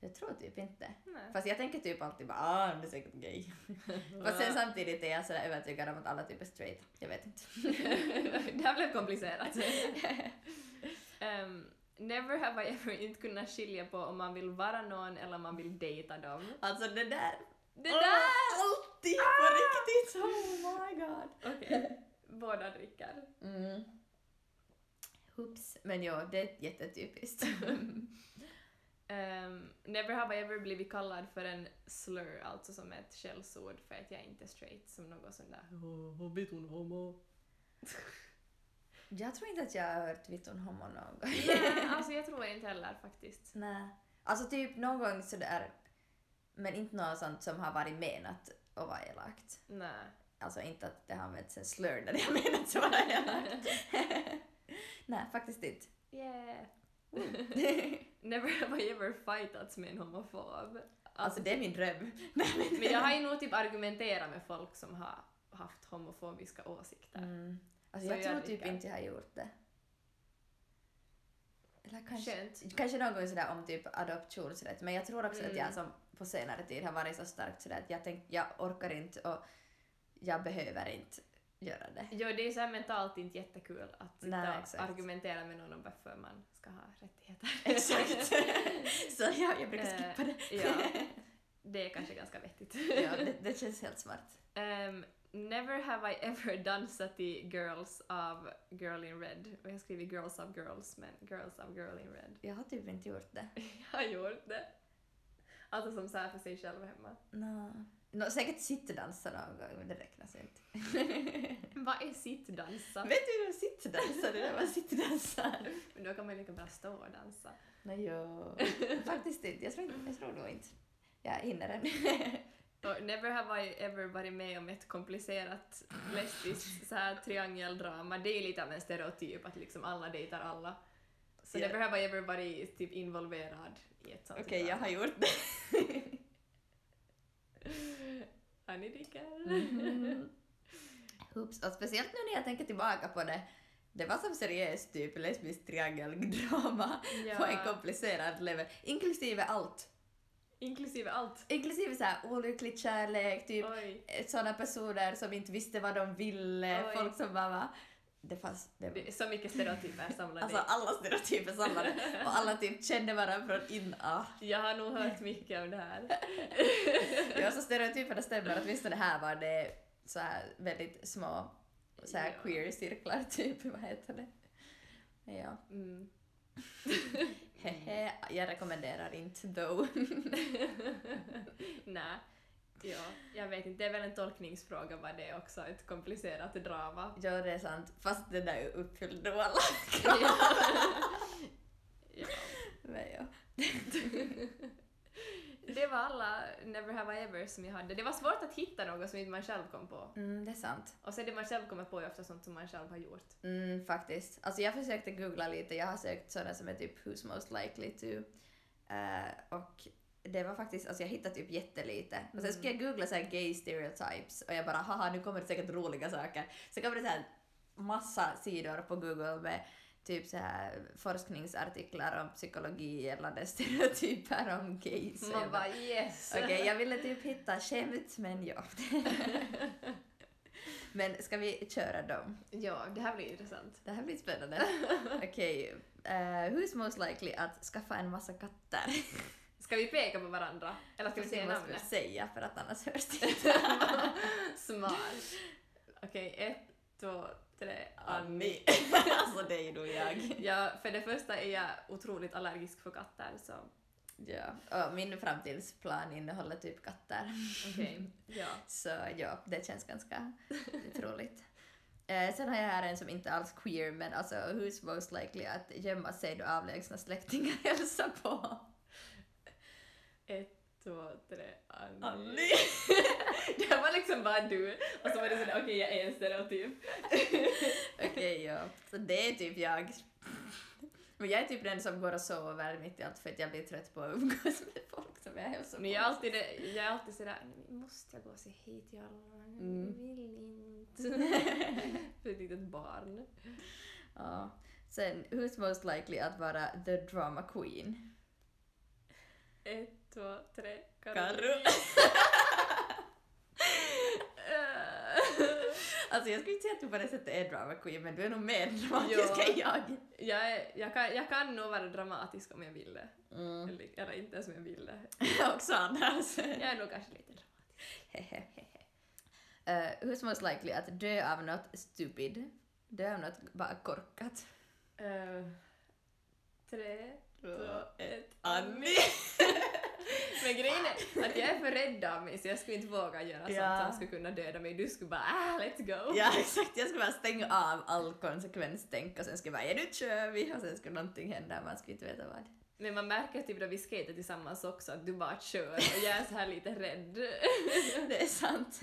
S1: Jag tror typ inte.
S2: Nej.
S1: Fast jag tänker typ alltid bara ah, han är säkert gay. Fast sen samtidigt är jag sådär övertygad om att alla typ är straight. Jag vet inte.
S2: det här blev komplicerat. Ehm, never have I ever inte kunnat skilja på om man vill vara någon eller om man vill dejta dem.
S1: Alltså det där Ah!
S2: Det där!
S1: Alltid på riktigt! Oh my god!
S2: Okej, båda dricker.
S1: Mm. Oops. Men ja, det är jättetypiskt.
S2: Ehm, never have I ever blivit kallad för en slur, alltså som ett skällsord för att jag inte är straight, som något sånt där.
S1: jag tror inte att jag har hört vitton homo någon gång.
S2: Nej, alltså jag tror inte heller faktiskt.
S1: Nej. Alltså typ någon gång sådär, men inte något sånt som har varit menat att vara elakt.
S2: Nej.
S1: Alltså inte att det har använts en slur när det har menats att vara elakt. Nej, faktiskt inte.
S2: Yeah. never have I ever fightats med en homofob.
S1: Mm. Alltså det är min dröm.
S2: Men jag har ju nog typ argumenterat med folk som har haft homofobiska åsikter.
S1: Mm. Alltså,
S2: Så
S1: jag
S2: gör
S1: tror
S2: vi
S1: typ
S2: kan.
S1: inte jag har gjort det. Eller kanske,
S2: Skönt.
S1: kanske någon gång sådär om typ adoptionsrätt. Men jag tror också att
S2: Mm.
S1: jag som på senare tid har varit så starkt sådär att jag tänkt jag orkar inte och jag behöver inte göra det.
S2: Jo, det är så här mentalt inte jättekul att sitta
S1: Nej,
S2: och
S1: exakt.
S2: argumentera med någon om varför man ska ha rättigheter.
S1: Exakt. så jag, jag brukar
S2: Eh,
S1: skippa det.
S2: ja, det är kanske ganska vettigt.
S1: ja, det. Det känns helt smart.
S2: Ehm, never have I ever dansat i Girls av Girl in Red. Och jag skriver Girls of Girls, men Girls of Girl in Red.
S1: Jag har typ inte gjort det.
S2: Jag har gjort det. Alltså som så här för sig själv hemma.
S1: No. No, säkert sittdansa någon gång, men det räknas inte.
S2: Vad är sittdansa?
S1: Vet du hur sittdansa? Det där var sittdansa.
S2: Men då kan man ju lika bra stå och dansa.
S1: Nej, jo. Faktiskt inte. Jag tror, inte, jag tror nog inte. Jag hinner än.
S2: Och never have I ever varit med om ett komplicerat lesbiskt så här triangeldrama. Det är lite av en stereotyp att liksom alla dejtar alla. Så det behöver ju bara vara typ involverad i ett sånt typ
S1: Okej, jag har gjort det.
S2: Annie Dicker.
S1: Mm, Oops. Och speciellt nu när jag tänker tillbaka på det. Det var som seriöst typ lesbisk triangeldrama på en
S2: Ja,
S1: komplicerad level. Inklusive allt.
S2: inklusive allt.
S1: Inklusive så här olycklig kärlek, typ
S2: Oj.
S1: sådana personer som inte visste vad de ville,
S2: Oj.
S1: folk som bara va? Det fanns... Det
S2: Det är så mycket stereotyper samlade.
S1: Alltså alla stereotyper samlade och alla typ kände varandra från in ah.
S2: Jag har nog hört mycket om det här.
S1: Ja, så stereotyperna stämmer, åtminstone här var det så här väldigt små så här
S2: Ja.
S1: queer-cirklar typ, vad heter det? Men Ja,
S2: Mm.
S1: hehe, jag rekommenderar inte though.
S2: Nej. Ja, jag vet inte. Det är väl en tolkningsfråga vad det är också, ett komplicerat drama.
S1: Ja, det är sant, fast det där uppfyllde nog alla krav.
S2: Ja.
S1: Men ja.
S2: Det var alla Never Have I Ever som jag hade. Det var svårt att hitta något som inte man själv kom på.
S1: Mm, det är sant.
S2: Och sen det man själv kommer på är ofta sånt som man själv har gjort.
S1: Mm, faktiskt. Alltså jag försökte googla lite, jag har sökt sådana som är typ “Who's most likely to” Eh, och det var faktiskt, alltså jag hittade typ jättelite. Och sen skulle jag googla så här gay stereotypes och jag bara haha nu kommer det säkert roliga saker. Så kommer det så här massa sidor på Google med typ så här forskningsartiklar om psykologi gällande stereotyper om gays. Och
S2: Man
S1: jag bara,
S2: bara yes!
S1: Okej, jag ville typ hitta skämt men ja. men ska vi köra dem?
S2: Ja, det här blir intressant.
S1: Det här blir spännande. Okej, eh, who's most likely att skaffa en massa katter?
S2: Ska vi peka på varandra? Eller ska
S1: Ska
S2: vi
S1: se
S2: säga
S1: vad jag skulle
S2: namnet?
S1: säga för att annars hörs det inte.
S2: Smart. Okej, ett, två, tre, Annie.
S1: Annie. alltså det är ju nog jag.
S2: Ja, för det första är jag otroligt allergisk för katter så
S1: Ja, och min framtidsplan innehåller typ katter.
S2: okej. Ja.
S1: Så ja, det känns ganska troligt. Eh, sen har jag här en som inte alls queer men alltså who's most likely att gömma sig då avlägsna släktingar hälsar på?
S2: Ett, två, tre, Annie.
S1: Annie.
S2: det här var liksom bara du och så var det sådär okej jag är en stereotyp.
S1: Okej, ja. Så det är typ jag. Men jag är typ den som går och sover mitt i allt för att jag blir trött på att umgås med folk som jag hälsar på.
S2: Men jag är alltid, det- jag är alltid sådär, "Nej, men måste jag gå och säga hej till alla? Nej,
S1: Mm.
S2: Jag vill inte. För ett litet barn.
S1: Ja. Sen, who's most likely att vara the drama queen?
S2: Ett, två, tre,
S1: Alltså jag skulle inte säga att du på det sättet är drama queen men du är nog mer dramatisk
S2: Ja.
S1: än jag.
S2: jag, är, jag, kan, jag kan nog vara dramatisk om jag vill det.
S1: Mm.
S2: Eller, eller inte ens om jag vill det.
S1: Också annars.
S2: Jag är nog kanske lite dramatisk.
S1: Eh, who's most likely att dö av något stupid? Dö av något bara korkat.
S2: Eh, tre, två, ett,
S1: Annie!
S2: Men grejen är att jag är för rädd av mig så jag skulle inte våga göra
S1: Ja.
S2: sånt som skulle kunna döda mig. Du skulle bara ah, let's go.
S1: Ja exakt, jag skulle bara stänga av all konsekvenstänk och sen skulle jag bara ja nu kör vi och sen skulle någonting hända man skulle inte veta vad.
S2: Men man märker typ då vi skejtar tillsammans också att du bara kör och jag är så här lite rädd.
S1: Det är sant.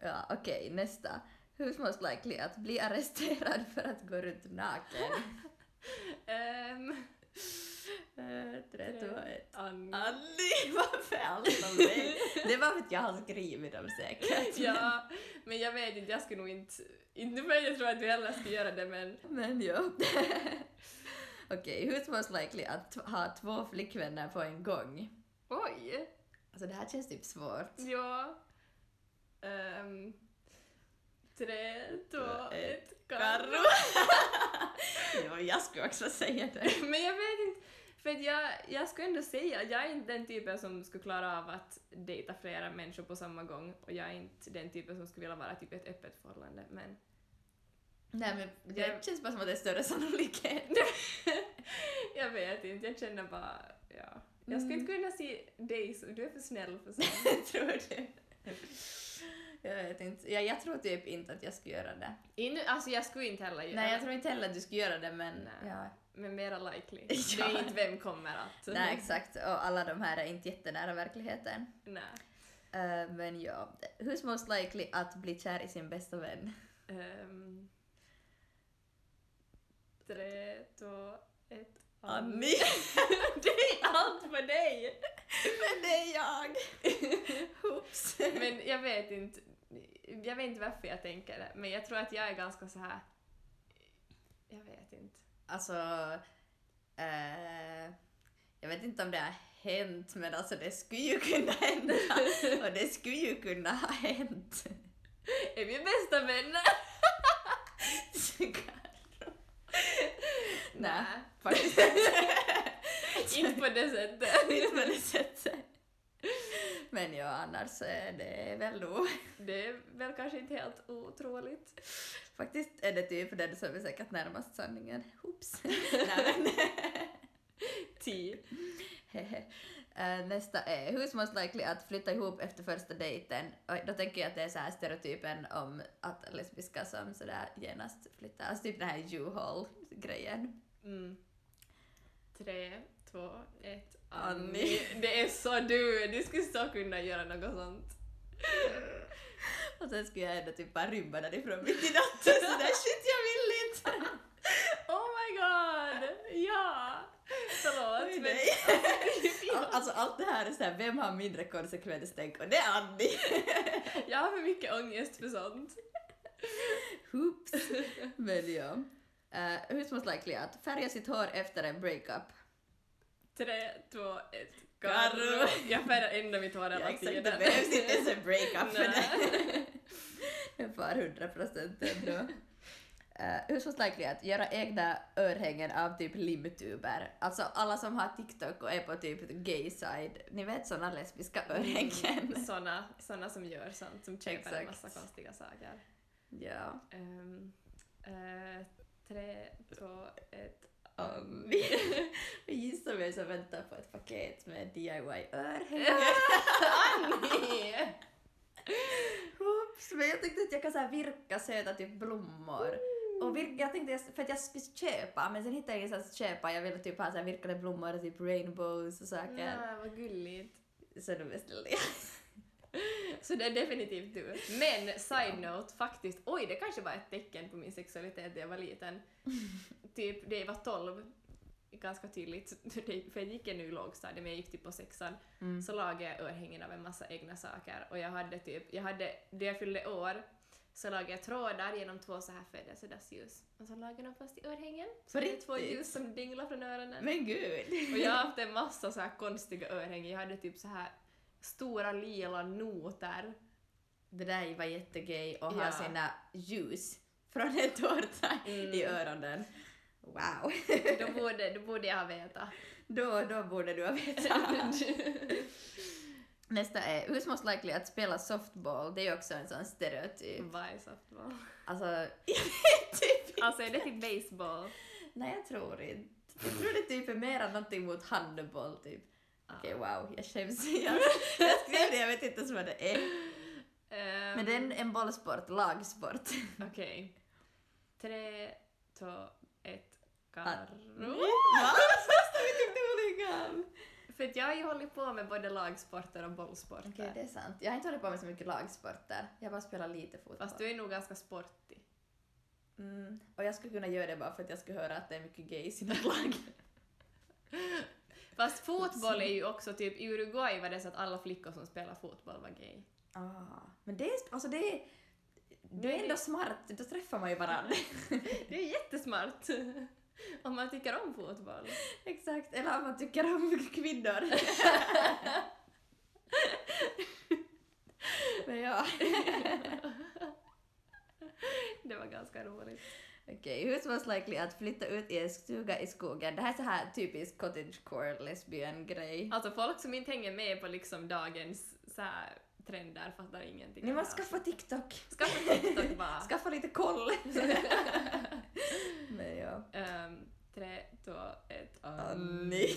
S1: ja okej, nästa. Who's most likely att bli arresterad för att gå runt naken?
S2: Ehm,
S1: Eh, Tre, två, ett.
S2: Ann.
S1: Annie, varför allt om dig? Det var för att jag har skrivit dem säkert.
S2: Ja, men jag vet inte, jag skulle nog inte... Inte för att jag tror att du heller skulle göra det men...
S1: Men ja. Okej, who's most likely att ha två flickvänner på en gång?
S2: Oj!
S1: Alltså det här känns typ svårt.
S2: Ja. Ehm, tre, två,
S1: Två,
S2: ett,
S1: ett,
S2: Karro.
S1: ja, jag skulle också säga det.
S2: Men jag vet inte, för att jag, jag skulle ändå säga att jag är inte den typen som skulle klara av att dejta flera människor på samma gång och jag är inte den typen som skulle vilja vara typ ett öppet förhållande men...
S1: Nej men det känns bara som att det är större sannolikhet.
S2: jag vet inte, jag känner bara, ja. Jag skulle inte kunna se dig, som- du är för snäll för sånt.
S1: Mm. tror du? Jag vet inte. Ja, jag tror typ inte att jag skulle göra det.
S2: Inu, alltså jag skulle inte heller göra
S1: Nej, jag
S2: det,
S1: tror inte heller att du skulle göra det men...
S2: Nej.
S1: Ja.
S2: men mera likely.
S1: Ja.
S2: Det är inte vem kommer att...
S1: Nej, exakt. Och alla de här är inte jättenära verkligheten.
S2: Nej.
S1: Eh, men ja. Who's most likely att bli kär i sin bästa vän?
S2: Ehm, Tre, två, ett.
S1: Annie.
S2: det är allt för dig!
S1: Men det är jag! Oops.
S2: Men jag vet inte. Jag vet inte varför jag tänker det, men jag tror att jag är ganska så här. Jag vet inte.
S1: Alltså, eh, jag vet inte om det har hänt men alltså det skulle ju kunna hända och det skulle ju kunna ha hänt.
S2: Är vi bästa vänner?
S1: Nej, faktiskt inte.
S2: inte på det sättet.
S1: Inte på det sättet. Men ja, annars är det väl nog.
S2: Det är väl kanske inte helt otroligt.
S1: Faktiskt är det typ den som är säkert närmast sanningen. Oops. Nej, men, Typ.
S2: Tio.
S1: Hehe. Eh, Nästa är Who's most likely att flytta ihop efter första dejten? Och då tänker jag att det är så här stereotypen om att lesbiska som sådär genast flyttar. Alltså typ den här U-haul-grejen.
S2: Mm. Tre, två, ett. Mm.
S1: Annie.
S2: Det är så du! Du skulle så kunna göra något sånt.
S1: Och sen skulle jag ändå typ bara rymma därifrån mitt i natten sådär shit jag vill inte!
S2: Oh my god! Ja! Förlåt,
S1: Oj,
S2: men...
S1: nej. Al- Alltså allt det här är såhär, vem har mindre konsekvenstänk? Och det är Annie!
S2: Jag har för mycket ångest för sånt.
S1: Oops! Men ja. Eh, who's most likely att färga sitt hår efter en breakup?
S2: Tre, två, ett.
S1: Garro.
S2: Jag färgar ändå mitt hår
S1: Ja,
S2: hela
S1: exakt, det
S2: tiden.
S1: behövs inte ens en breakup för det.
S2: Nej.
S1: Den far 100 procent ändå. Eh, Hur så likely att göra egna örhängen av typ limtuber? Alltså alla som har TikTok och är på typ gay side, ni vet såna lesbiska örhängen?
S2: Mm, Såna, såna som gör sånt, som köper en
S1: Exakt.
S2: massa konstiga saker.
S1: Ja,
S2: Ehm, eh, tre, två, ett.
S1: Annie. Jag gissar mig som väntar på ett paket med DIY-örhängen. Ah!
S2: Annie!
S1: Oops, men jag tänkte att jag kan så här virka söta typ blommor. Och virka, jag tänkte jag- för att jag skulle köpa, men sen hittade jag ingenstans att köpa. Jag ville typ ha så här virkade blommor och typ rainbows och saker.
S2: Ja, Ah, vad gulligt.
S1: Så då beställde jag.
S2: Så det är definitivt Typ du. Men side note, faktiskt, oj det kanske var ett tecken på min sexualitet när jag var liten. typ, det var 12, ganska tydligt, Det- för jag gick ännu i lågstadiet men jag gick typ på sexan,
S1: Mm.
S2: så lagade jag örhängen av en massa egna saker och jag hade typ, jag hade, då jag fyllde år så lagade jag trådar genom två så här födelsedagsljus och så lagade de fast i örhängen. Så
S1: På
S2: det är två
S1: riktigt?
S2: ljus som dinglar från öronen.
S1: Men gud!
S2: Och jag har haft en massa så här konstiga örhängen. Jag hade typ så här stora lila noter.
S1: Det där var jättegay och ha
S2: Ja.
S1: sina ljus från en tårta i
S2: Mm.
S1: öronen. Wow!
S2: Då borde, då borde jag veta.
S1: då, då borde du ha vetat. Nästa är Who's most likely att spela softball? Det är ju också en sån stereotyp.
S2: Vad är softball?
S1: Alltså, jag vet typ
S2: Alltså är det typ baseball?
S1: Nej, jag tror inte. Jag tror det typ är mera någonting mot handboll typ. Okej, wow, jag skäms. Jag, jag skrev det, jag vet inte ens vad det är.
S2: Ehm,
S1: Men det är en, en bollsport, lagsport.
S2: Okej. Tre, två, ett,
S1: Nej,
S2: garro.
S1: Va? Fast vi tyckte olika om.
S2: För att jag har ju hållit på med både lagsporter och bollsporter.
S1: Okej, det är sant. Jag har inte hållit på med så mycket lagsporter. Jag har bara spelat lite fotboll.
S2: Fast du är nog ganska sportig.
S1: mm. Och jag skulle kunna göra det bara för att jag skulle höra att det är mycket gay i sina lag.
S2: Fast fotboll är ju också typ, i Uruguay var det så att alla flickor som spelar fotboll var gay.
S1: ah, men det är, alltså det är, du
S2: Det
S1: är
S2: är-
S1: ändå smart, då träffar man ju varandra.
S2: Det är jättesmart! Om man tycker om fotboll.
S1: Exakt, eller om man tycker om kvinnor. Men ja.
S2: Det var ganska roligt.
S1: Okej, okay, who's most likely att flytta ut i en stuga i skogen? Det här är så här typisk cottagecore lesbian-grej.
S2: Alltså folk som inte hänger med på liksom dagens så här, trender fattar ingenting.
S1: Ni
S2: av
S1: måste
S2: det
S1: skaffa TikTok.
S2: här. skaffa TikTok bara.
S1: Skaffa lite koll. Men ja.
S2: Ehm, tre, två, ett.
S1: Annie.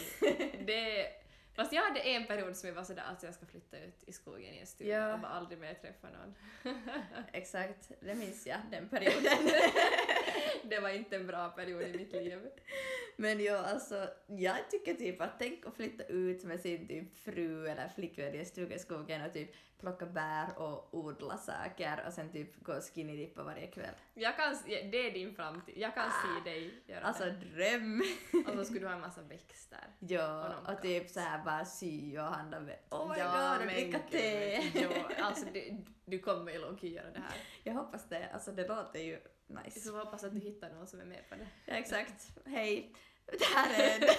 S2: Det, fast jag hade en period som jag var sådär att alltså jag ska flytta ut i skogen i en stuga
S1: Ja.
S2: och bara aldrig mer träffa någon.
S1: Exakt, det minns jag, den perioden.
S2: Det var inte en bra period i mitt liv.
S1: Men jo, alltså, jag tycker typ att tänk att flytta ut med sin typ fru eller flickvän i en stuga i skogen och typ plocka bär och odla saker och sen typ gå skinny dippa varje kväll.
S2: Jag kan, se- det är din framtid. Jag kan se dig göra
S1: Alltså
S2: det.
S1: dröm!
S2: Och så skulle du ha en massa växter.
S1: ja,
S2: någon
S1: och typ såhär bara sy och handla med oh my
S2: Ja,
S1: god och
S2: men
S1: dricka
S2: gud,
S1: te!
S2: Ja, alltså du, du kommer ju långt göra det här.
S1: jag hoppas det, alltså det låter ju nice.
S2: Så hoppas att du hittar någon som är med på det.
S1: Ja, exakt. Hej! Det här är en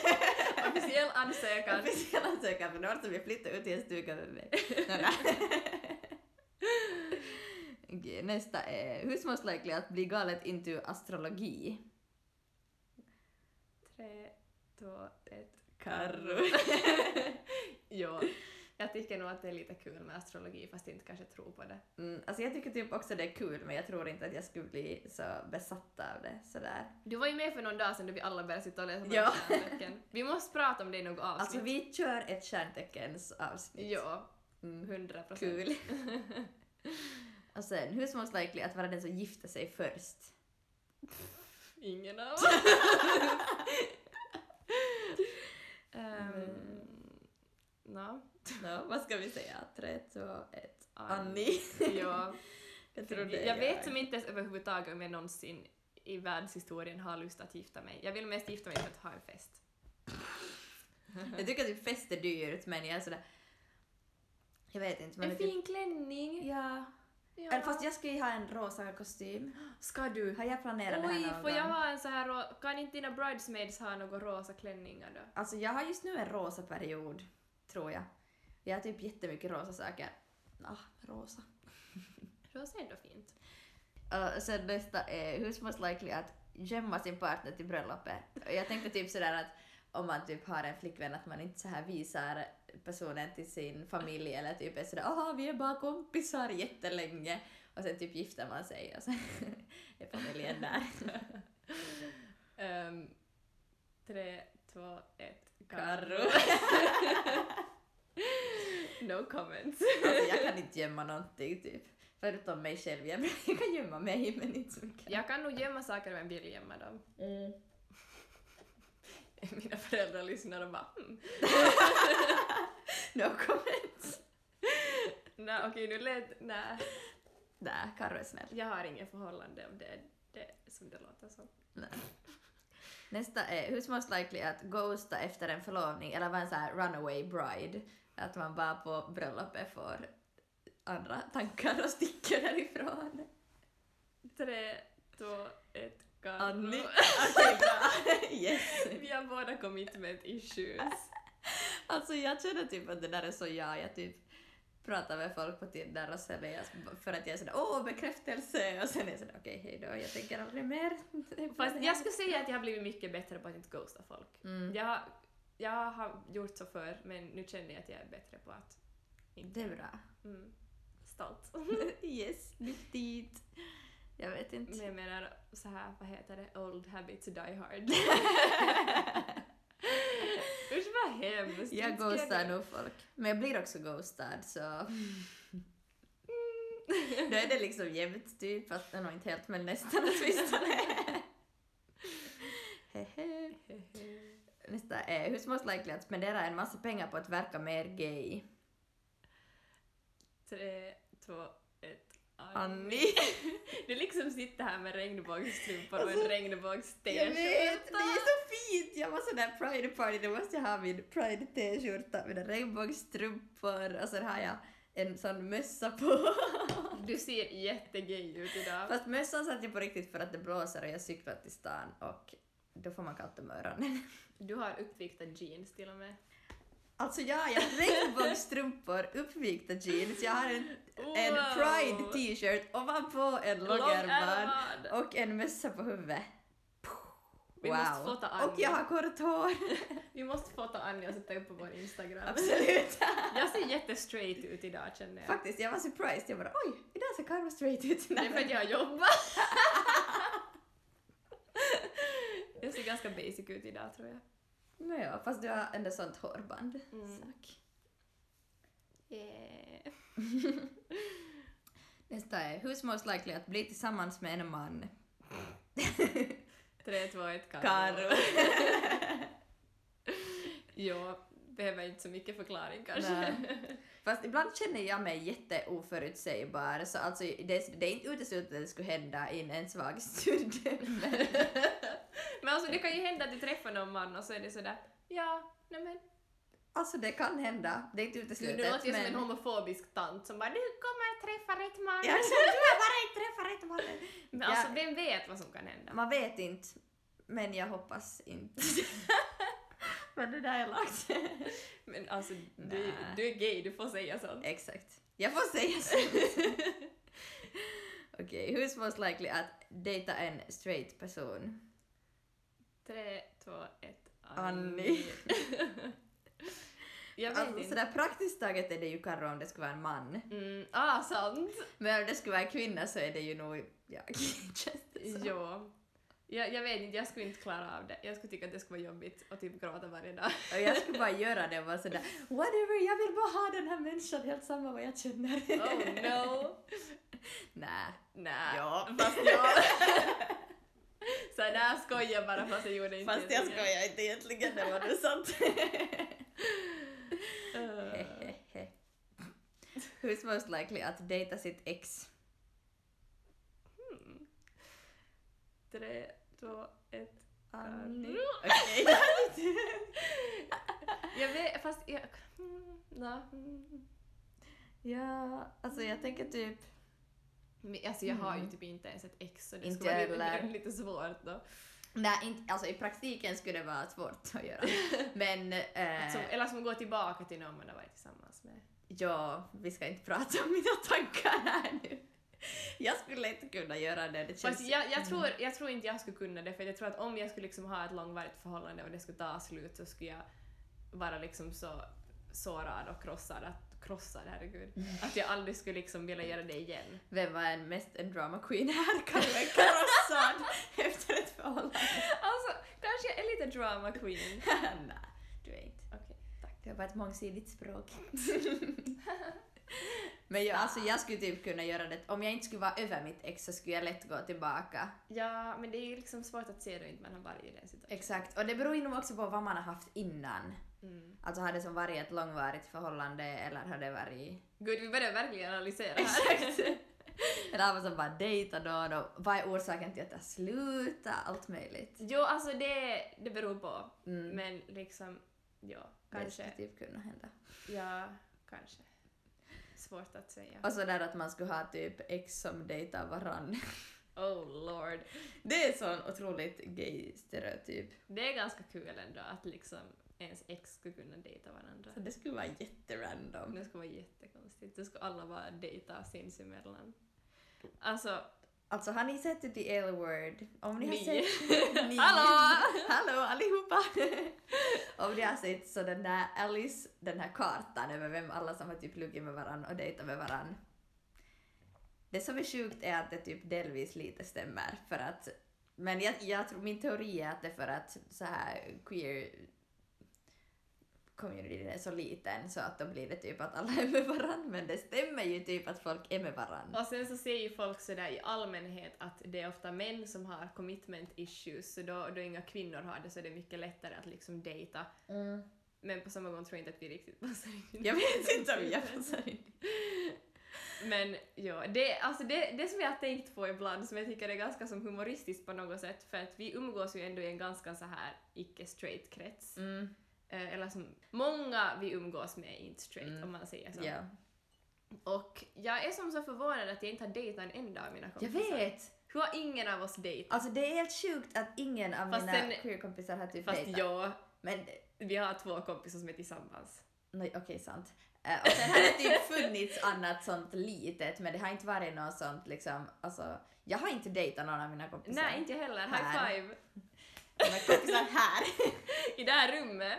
S2: Officiell ansökan.
S1: officiell ansökan för några som vill flytta ut i en stuga med mig. Nej, nej. Okej, Nästa är Who's most likely att bli galet into astrologi?
S2: Tre, två, ett.
S1: Karro.
S2: ja, jag tycker nog att det är lite kul med astrologi fast inte kanske tror på det.
S1: Mm, alltså jag tycker typ också det är kul men jag tror inte att jag skulle bli så besatt av det sådär.
S2: Du var ju med för någon dag sedan då vi alla började sitta och läsa på
S1: Ja.
S2: stjärntecken. Vi måste prata om det i något avsnitt.
S1: Alltså vi kör ett stjärnteckens avsnitt.
S2: Ja,
S1: Mm,
S2: hundra procent.
S1: kul. Och sen, who's most likely att vara den som gifter sig först?
S2: Ingen av oss. um, no.
S1: Nå, vad ska vi säga? Tre, två, ett.
S2: Annie.
S1: Annie.
S2: Ja,
S1: jag trodde
S2: jag vet som inte ens överhuvudtaget om jag någonsin i världshistorien har lust att gifta mig. Jag vill mest gifta mig för att ha en fest.
S1: Jag tycker typ fest är dyrt men jag är sådär... Jag vet inte. Men
S2: En
S1: det är
S2: fin klänning.
S1: Typ, ja.
S2: Ja.
S1: Eller Fast jag ska ju ha en rosa kostym.
S2: Ska du?
S1: Har jag planerat det här
S2: Oj,
S1: någon
S2: får jag
S1: gång?
S2: ha en så här ro- Kan inte dina bridesmaids ha några rosa klänningar då?
S1: Alltså jag har just nu en rosa period, tror jag. Jag har typ jättemycket rosa saker. Ah, rosa.
S2: Rosa är ändå fint.
S1: Och sen nästa är who's most likely att gömma sin partner till bröllopet. Och Jag tänkte typ sådär att om man typ har en flickvän att man inte så här visar personen till sin familj eller typ är sådär aha vi är bara kompisar jättelänge och sen typ gifter man sig och sen är familjen där.
S2: Um, tre, två, ett.
S1: Karro.
S2: No comments.
S1: Alltså jag kan inte gömma någonting typ. Förutom mig själv. Jag jag kan gömma mig men inte så mycket.
S2: Jag kan nog gömma saker men vill gömma dem. Mina föräldrar lyssnar och bara mm.
S1: No comments.
S2: Nej okej nu lät... Nej.
S1: Nej, Karro är snäll.
S2: Jag har ingen förhållande om det är det som det låter som.
S1: Nej. Nästa är Who's most likely att ghosta efter en förlovning eller vara en sån här runaway bride? Att man bara på bröllopet får andra tankar och sticker därifrån.
S2: Tre, två, ett, Karro.
S1: Annie. Okej, bra. Yes.
S2: Vi har båda commitment issues.
S1: Alltså jag känner typ att det där är så jag. Jag typ pratar med folk på Tinder och sen är jag för att jag är sådär åh bekräftelse och sen är jag sådär okej hej hejdå jag tänker aldrig mer.
S2: Fast jag skulle säga att jag har blivit mycket bättre på att inte ghosta folk.
S1: Mm.
S2: Jag, jag har gjort så förr men nu känner jag att jag är bättre på att inte...
S1: Det är bra.
S2: Mm. Stolt.
S1: Yes, nyttigt. Jag vet inte.
S2: Men jag menar så här, vad heter det, old habits die hard. Usch vad hemskt.
S1: Jag
S2: Inte skulle
S1: ghostar
S2: jag-
S1: nog folk. Men jag blir också ghostad så... Då är det liksom jämnt typ, fast nog inte helt men nästan åtminstone. Hehe. Nästa är Who's most likely att spendera en massa pengar på att verka mer gay?
S2: Tre, två, ett.
S1: Annie!
S2: Du liksom sitter här med regnbågsstrumpor och en
S1: Alltså, Jag
S2: regnbågsten.
S1: vet, det är så fint! Jag var sån där pride party, då måste jag ha min pride t-skjorta, mina regnbågsstrumpor och sen har jag en sån mössa på.
S2: Du ser jättegay ut idag.
S1: Fast mössan satt jag på riktigt för att det blåser och jag cyklar till stan och då får man kallt om öronen.
S2: Du har uppvikta jeans till och med.
S1: Alltså ja, jag har regnbågsstrumpor, uppvikta jeans, jag har en, en
S2: Wow.
S1: pride t-shirt ovanpå en långärmad
S2: Långärmad.
S1: och en mössa på huvudet.
S2: Vi måste fota Annie.
S1: Och jag har kort hår.
S2: Vi måste fota Annie och sätta upp på vår Instagram.
S1: Absolut.
S2: Jag ser jättestraight ut idag känner jag.
S1: Faktiskt, jag var surprised. Jag bara oj, idag ser Carro straight ut.
S2: Det är för att jag jobbar. jag ser ganska basic ut idag tror jag.
S1: Nåja, fast du har ändå sånt hårband.
S2: Mm.
S1: Tack.
S2: Yeah.
S1: Nästa är Who's most likely att bli tillsammans med en man?
S2: Tre, två, ett, Karo.
S1: Karo.
S2: jo, behöver inte så mycket förklaring kanske.
S1: Nej. Fast ibland känner jag mig jätteoförutsägbar, så alltså det, det är inte uteslutet att det skulle hända in en svag stund. Men,
S2: Men alltså det kan ju hända att du träffar någon man och så är det sådär, ja, nej men.
S1: alltså det kan hända, det är inte
S2: Gud,
S1: uteslutet.
S2: nu låter jag som
S1: men...
S2: en homofobisk tant som bara, du kommer träffa rätt man.
S1: Jag känner att jag bara inte träffar rätt mannen.
S2: Men alltså
S1: Ja.
S2: vem vet vad som kan hända?
S1: Man vet inte, men jag hoppas inte. men det där är lagt.
S2: Men alltså du,
S1: Nej.
S2: du är gay, du får säga sånt.
S1: Exakt. Jag får säga så. Okej, who's most likely att dejta en straight person?
S2: Tre, två, ett,
S1: Annie.
S2: jag vet
S1: Alltså
S2: inte.
S1: sådär praktiskt taget är det ju Karro om det skulle vara en man.
S2: Mm, ah, sant.
S1: Men om det skulle vara en kvinna så är det ju nog jag. Känns det som.
S2: Jo. Jag, jag vet inte, jag skulle inte klara av det. Jag skulle tycka att det skulle vara jobbigt och typ gråta varje dag.
S1: Och jag skulle bara göra det och vara sådär whatever, jag vill bara ha den här människan helt samma vad jag känner.
S2: Oh no.
S1: Nä.
S2: Nej.
S1: Ja.
S2: Fast jag... Så där skojar jag bara fast jag gjorde inte
S1: Fast jag skojar inte egentligen, det var nu sant.
S2: Eh,
S1: Hehehe. Who's most likely att dejta sitt ex?
S2: hmm. Tre, två, ett. Mm.
S1: Annie.
S2: Annie.
S1: Ah, Okej.
S2: Jag vet, fast jag... Mm, no. mm.
S1: ja, alltså jag tänker typ...
S2: Men, alltså jag har ju
S1: Mm.
S2: typ inte ens ett ex så det
S1: Inte
S2: skulle vara
S1: heller.
S2: lite, lite svårt då.
S1: Nej, inte, alltså i praktiken skulle det vara svårt att göra. Men...
S2: Att
S1: Eh,
S2: Som, Alltså, eller som går tillbaka till någon man har varit tillsammans med.
S1: ja, vi ska inte prata om mina tankar här nu. Jag skulle inte kunna göra det. det
S2: Fast
S1: känns...
S2: jag, jag, tror, jag tror inte jag skulle kunna det för jag tror att om jag skulle liksom ha ett långvarigt förhållande och det skulle ta slut så skulle jag vara liksom så sårad och krossad, att, krossad herregud, att jag aldrig skulle liksom vilja göra det igen.
S1: Vem var en mest en drama queen här? Kalle Karossad efter ett förhållande.
S2: Alltså, kanske jag är lite drama queen.
S1: Nej, du är inte.
S2: Okej.
S1: Det var ett mångsidigt språk. Men jag, alltså, jag skulle typ kunna göra det. Om jag inte skulle vara över mitt ex så skulle jag lätt gå tillbaka.
S2: Ja, men det är ju liksom svårt att se då inte man har varit i den situationen.
S1: Exakt. Och det beror ju nog också på vad man har haft innan.
S2: Mm.
S1: Alltså har det som varit ett långvarigt förhållande eller har det varit...
S2: Gud, vi börjar verkligen analysera här.
S1: Exakt. eller har man som bara dejtat någon och vad är orsaken till att det slutar? Allt möjligt.
S2: jo, alltså det, det beror på.
S1: Mm.
S2: Men liksom, ja,
S1: Det skulle
S2: kanske.
S1: typ kunna hända.
S2: Ja, kanske. Svårt att säga.
S1: Och så där att man skulle ha typ ex som dejtar varann.
S2: Oh lord.
S1: Det är en sån otroligt gay stereotyp.
S2: Det är ganska kul ändå att liksom ens ex skulle kunna dejta varandra.
S1: Så det skulle vara jätterandom.
S2: Det skulle vara jättekonstigt. Då skulle alla bara dejta sinsemellan. Alltså,
S1: Alltså har ni sett The L word? Om ni har
S2: Ni.
S1: sett... ni.
S2: Hallå!
S1: Hallå allihopa! Om ni har sett alltså så den där Alice, den här kartan över vem alla som har typ luggit med varann och dejtat med varann. Det som är sjukt är att det typ delvis lite stämmer för att men jag, jag tror, min teori är att det är för att så här queer communityn är så liten så att då blir det typ att alla är med varann men det stämmer ju typ att folk är med varann.
S2: och sen så ser ju folk sådär i allmänhet att det är ofta män som har commitment issues, så då, då inga kvinnor har det så är det mycket lättare att liksom dejta.
S1: Mm.
S2: Men på samma gång tror jag inte att vi riktigt passar in.
S1: Jag vet inte om jag passar in.
S2: Men ja, det, alltså det, det som jag har tänkt på ibland som jag tycker är ganska som humoristiskt på något sätt för att vi umgås ju ändå i en ganska så här icke-straight krets.
S1: Mm.
S2: Eh, eller som många vi umgås med är inte straight
S1: Mm.
S2: om man säger så.
S1: Ja.
S2: Och jag är som så förvånad att jag inte har dejtat en enda av mina
S1: Jag
S2: kompisar.
S1: vet!
S2: Hur har ingen av oss dejtat?
S1: Alltså det är helt sjukt att ingen av
S2: Fast
S1: mina
S2: sen-
S1: queer-kompisar har typ
S2: Fast
S1: dejtat.
S2: jag,
S1: Men
S2: vi har två kompisar som är tillsammans.
S1: nej, okej, sant. Eh, och sen har det typ funnits annat sånt litet men det har inte varit något sånt liksom, alltså jag har inte dejtat någon av mina kompisar.
S2: Nej, inte jag heller. High
S1: Här.
S2: five!
S1: Mina kompisar här.
S2: I det här rummet,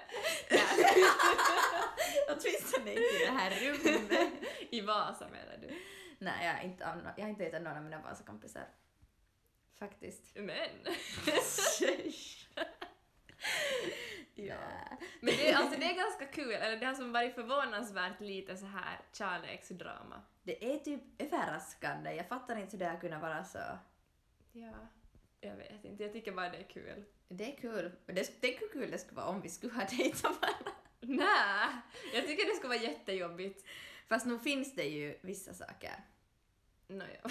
S1: Åtminstone inte i det här rummet.
S2: i Vasa menar du.
S1: Nej, jag har inte, anno- jag har inte dejtat någon av mina Vasa-kompisar. Faktiskt.
S2: Men!
S1: ja.
S2: Men det, alltså det är ganska kul, eller det har som varit förvånansvärt lite så här kärleksdrama.
S1: Det är typ överraskande, jag fattar inte hur det har kunnat vara så.
S2: Ja. Jag vet inte, jag tycker bara det är kul.
S1: Det är kul. Men det, tänk hur kul det skulle vara om vi skulle ha dejtat varandra.
S2: Nej, jag tycker det skulle vara jättejobbigt.
S1: Fast nu finns det ju vissa saker.
S2: Nåja.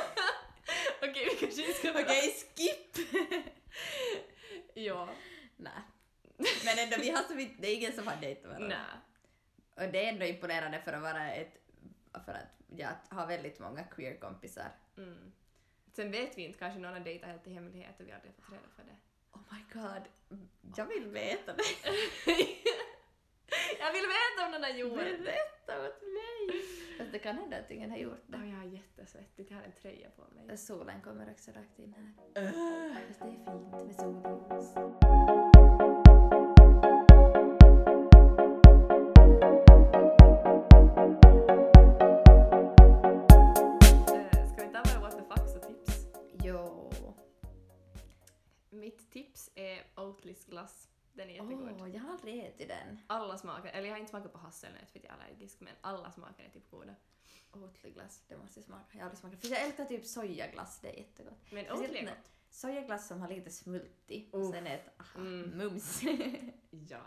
S2: Okej, vi kanske inte ska...
S1: Okej, skip!
S2: Ja.
S1: Nej. Men ändå, vi har så vitt, det är ingen som har dejtat varandra.
S2: Nej.
S1: Och det är ändå imponerande för att vara ett... För att jag har väldigt många queer-kompisar.
S2: Mm. Sen vet vi inte, kanske någon har dejtat helt i hemlighet och vi har aldrig fått reda på det.
S1: Oh my god, jag vill veta det.
S2: jag vill veta om någon har gjort det.
S1: Berätta åt mig! Fast det kan hända att ingen har gjort det.
S2: Oh, jag är jättesvettig, jag har en tröja på mig.
S1: Solen kommer också rakt in här. Fast det är fint med solljus.
S2: Eh, Ska vi ta våra what the fucks och tips?
S1: Jo.
S2: Mitt tips är Oatlys glass. Den är jättegod.
S1: Åh, jag har aldrig ätit den.
S2: Alla smaker, eller jag har inte smakat på hasselnöt för att jag är allergisk, men alla smaker är typ goda.
S1: Oatly-glass, det måste jag smaka. Jag har aldrig smakat. För jag älskar typ sojaglass, det är jättegott.
S2: Men
S1: Speciellt
S2: Oatly är
S1: när-
S2: gott.
S1: Sojaglass som har lite smult i.
S2: Uff.
S1: Sen är ett aha,
S2: Mm.
S1: mums.
S2: Ja.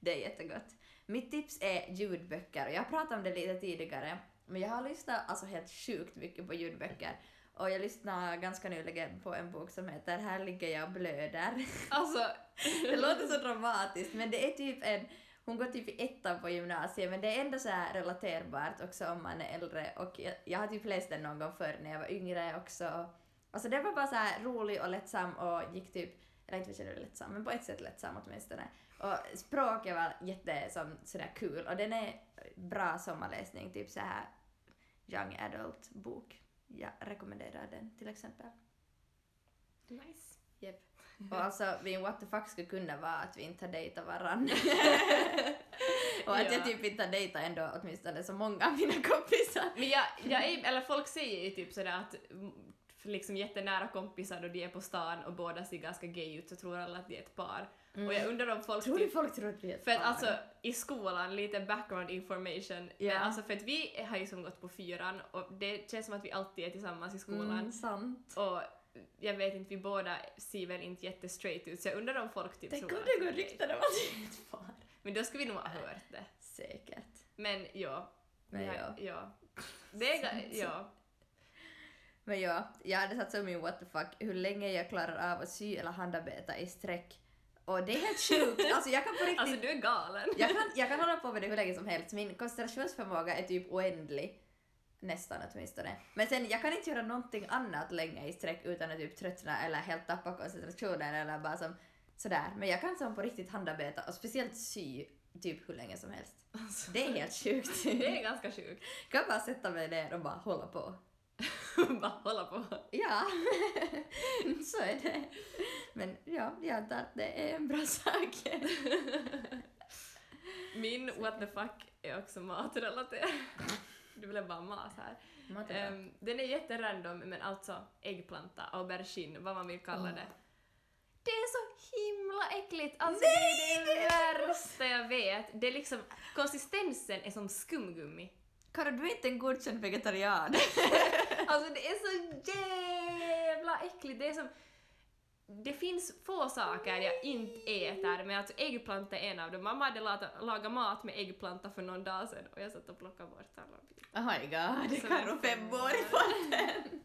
S1: det är jättegott. Mitt tips är ljudböcker. Jag pratade om det lite tidigare, men jag har lyssnat alltså helt sjukt mycket på ljudböcker. Och jag lyssnade ganska nyligen på en bok som heter Här ligger jag och blöder.
S2: Alltså,
S1: Det låter så dramatiskt men det är typ en, hon går typ i ettan på gymnasiet men det är ändå så här relaterbart också om man är äldre och jag, jag har typ läst den någon gång förr när jag var yngre också. Alltså den var bara så här rolig och lättsam och gick typ, eller inte vet jag om det är lättsam men på ett sätt lättsam åtminstone. Och språket var jätte som, sådär kul och den är bra sommarläsning, typ så här young adult bok. Jag rekommenderar den till exempel.
S2: nice.
S1: Yep. Och alltså min what the fuck skulle kunna vara att vi inte har dejtat varandra. och att
S2: Ja.
S1: jag typ inte har dejtat ändå åtminstone så många av mina kompisar.
S2: Men jag, jag är, eller folk säger ju typ sådär att mm, liksom jättenära kompisar och de är på stan och båda ser ganska gay ut så tror alla att de är ett par. Och jag undrar om folk
S1: Mm. Tror du
S2: typ,
S1: folk tror att vi är ett
S2: för att
S1: par?
S2: alltså i skolan, lite background information,
S1: Ja.
S2: men alltså för att vi har ju som gått på fyran och det känns som att vi alltid är tillsammans i skolan.
S1: Mm, sant.
S2: Och jag vet inte, vi båda ser väl inte jättestraight ut så jag undrar om folk typ
S1: Tänk
S2: tror
S1: om
S2: att
S1: det
S2: vi
S1: går
S2: är gay.
S1: rykten om att vi är ett par.
S2: Men då skulle vi nog ha hört det.
S1: Säkert.
S2: Men ja.
S1: Men
S2: ja.
S1: ja.
S2: ja. Det är, ga- ja.
S1: Men ja, jag hade satt som min what the fuck hur länge jag klarar av att sy eller handarbeta i sträck. Och det är helt sjukt. alltså jag kan på riktigt
S2: Alltså du är galen.
S1: jag, kan, jag kan hålla på med det hur länge som helst. Min koncentrationsförmåga är typ oändlig. Nästan åtminstone. Men sen, jag kan inte göra någonting annat länge i sträck utan att typ tröttna eller helt tappa koncentrationen eller bara som sådär. Men jag kan som på riktigt handarbeta och speciellt sy typ hur länge som helst.
S2: Alltså,
S1: Det är helt sjukt.
S2: det är ganska sjukt.
S1: kan bara sätta mig ner och bara hålla på.
S2: Bara hålla på.
S1: Ja, så är det. Men ja, jag antar att det är en bra sak.
S2: Min what the fuck är också matrelaterad. Det blev bara mat här. Ehm, den är jätterandom men alltså äggplanta, aubergine, vad man vill kalla
S1: Ja.
S2: det. Det är så himla äckligt! Alltså
S1: Nej,
S2: det är
S1: det
S2: det
S1: är så-
S2: värsta jag vet. Det är liksom, konsistensen är som skumgummi.
S1: Karo, du är inte en godkänd vegetarian.
S2: Alltså det är så jävla äckligt. Det är som... Det finns få saker jag inte äter, men alltså äggplanta är en av dem. Mamma hade lata- lagat mat med äggplanta för någon dag sedan och jag satt och plockade bort alla bitar.
S1: Oh my god,
S2: Så
S1: Carro
S2: det är
S1: fem år i farten!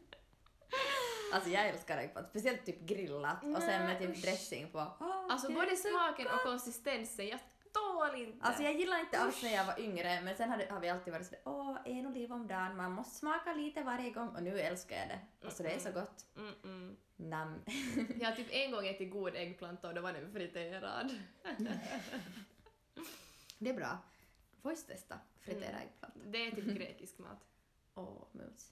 S1: alltså jag älskar äggplant, speciellt typ grillat och sen med
S2: Nej,
S1: typ
S2: usch.
S1: dressing på. Åh,
S2: Alltså
S1: det är
S2: både
S1: så-
S2: smaken och konsistensen, jag tål inte.
S1: Alltså jag gillar inte alls när jag var yngre men sen har, det, har vi alltid varit sådär åh, en oliv om dagen, man måste smaka lite varje gång och nu älskar jag det. Alltså det är så gott.
S2: Mm -mm.
S1: Nam.
S2: Jag har typ en gång ätit god äggplanta och då var den friterad.
S1: Det är bra. Får just testa, fritera
S2: Mm.
S1: äggplant.
S2: Det är typ grekisk mat.
S1: Åh, mums.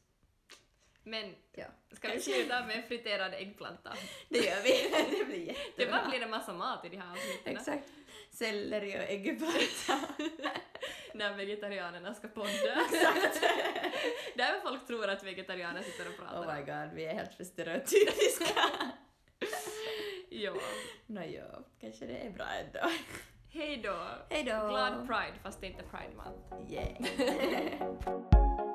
S2: Men
S1: Ja,
S2: ska vi sluta med friterad äggplanta?
S1: det gör vi. det blir jättebra.
S2: Det bara blir en massa mat i de här avsnitten.
S1: Exakt. Selleri och äggplanta.
S2: när vegetarianerna ska podda. Där folk tror att vegetarianer sitter och pratar.
S1: Oh my god, vi är helt för stereotypiska.
S2: Ja.
S1: Nåja, No kanske det är bra ändå.
S2: Hej då.
S1: Hej då!
S2: Glad pride fast det är inte pride month.
S1: Yeah.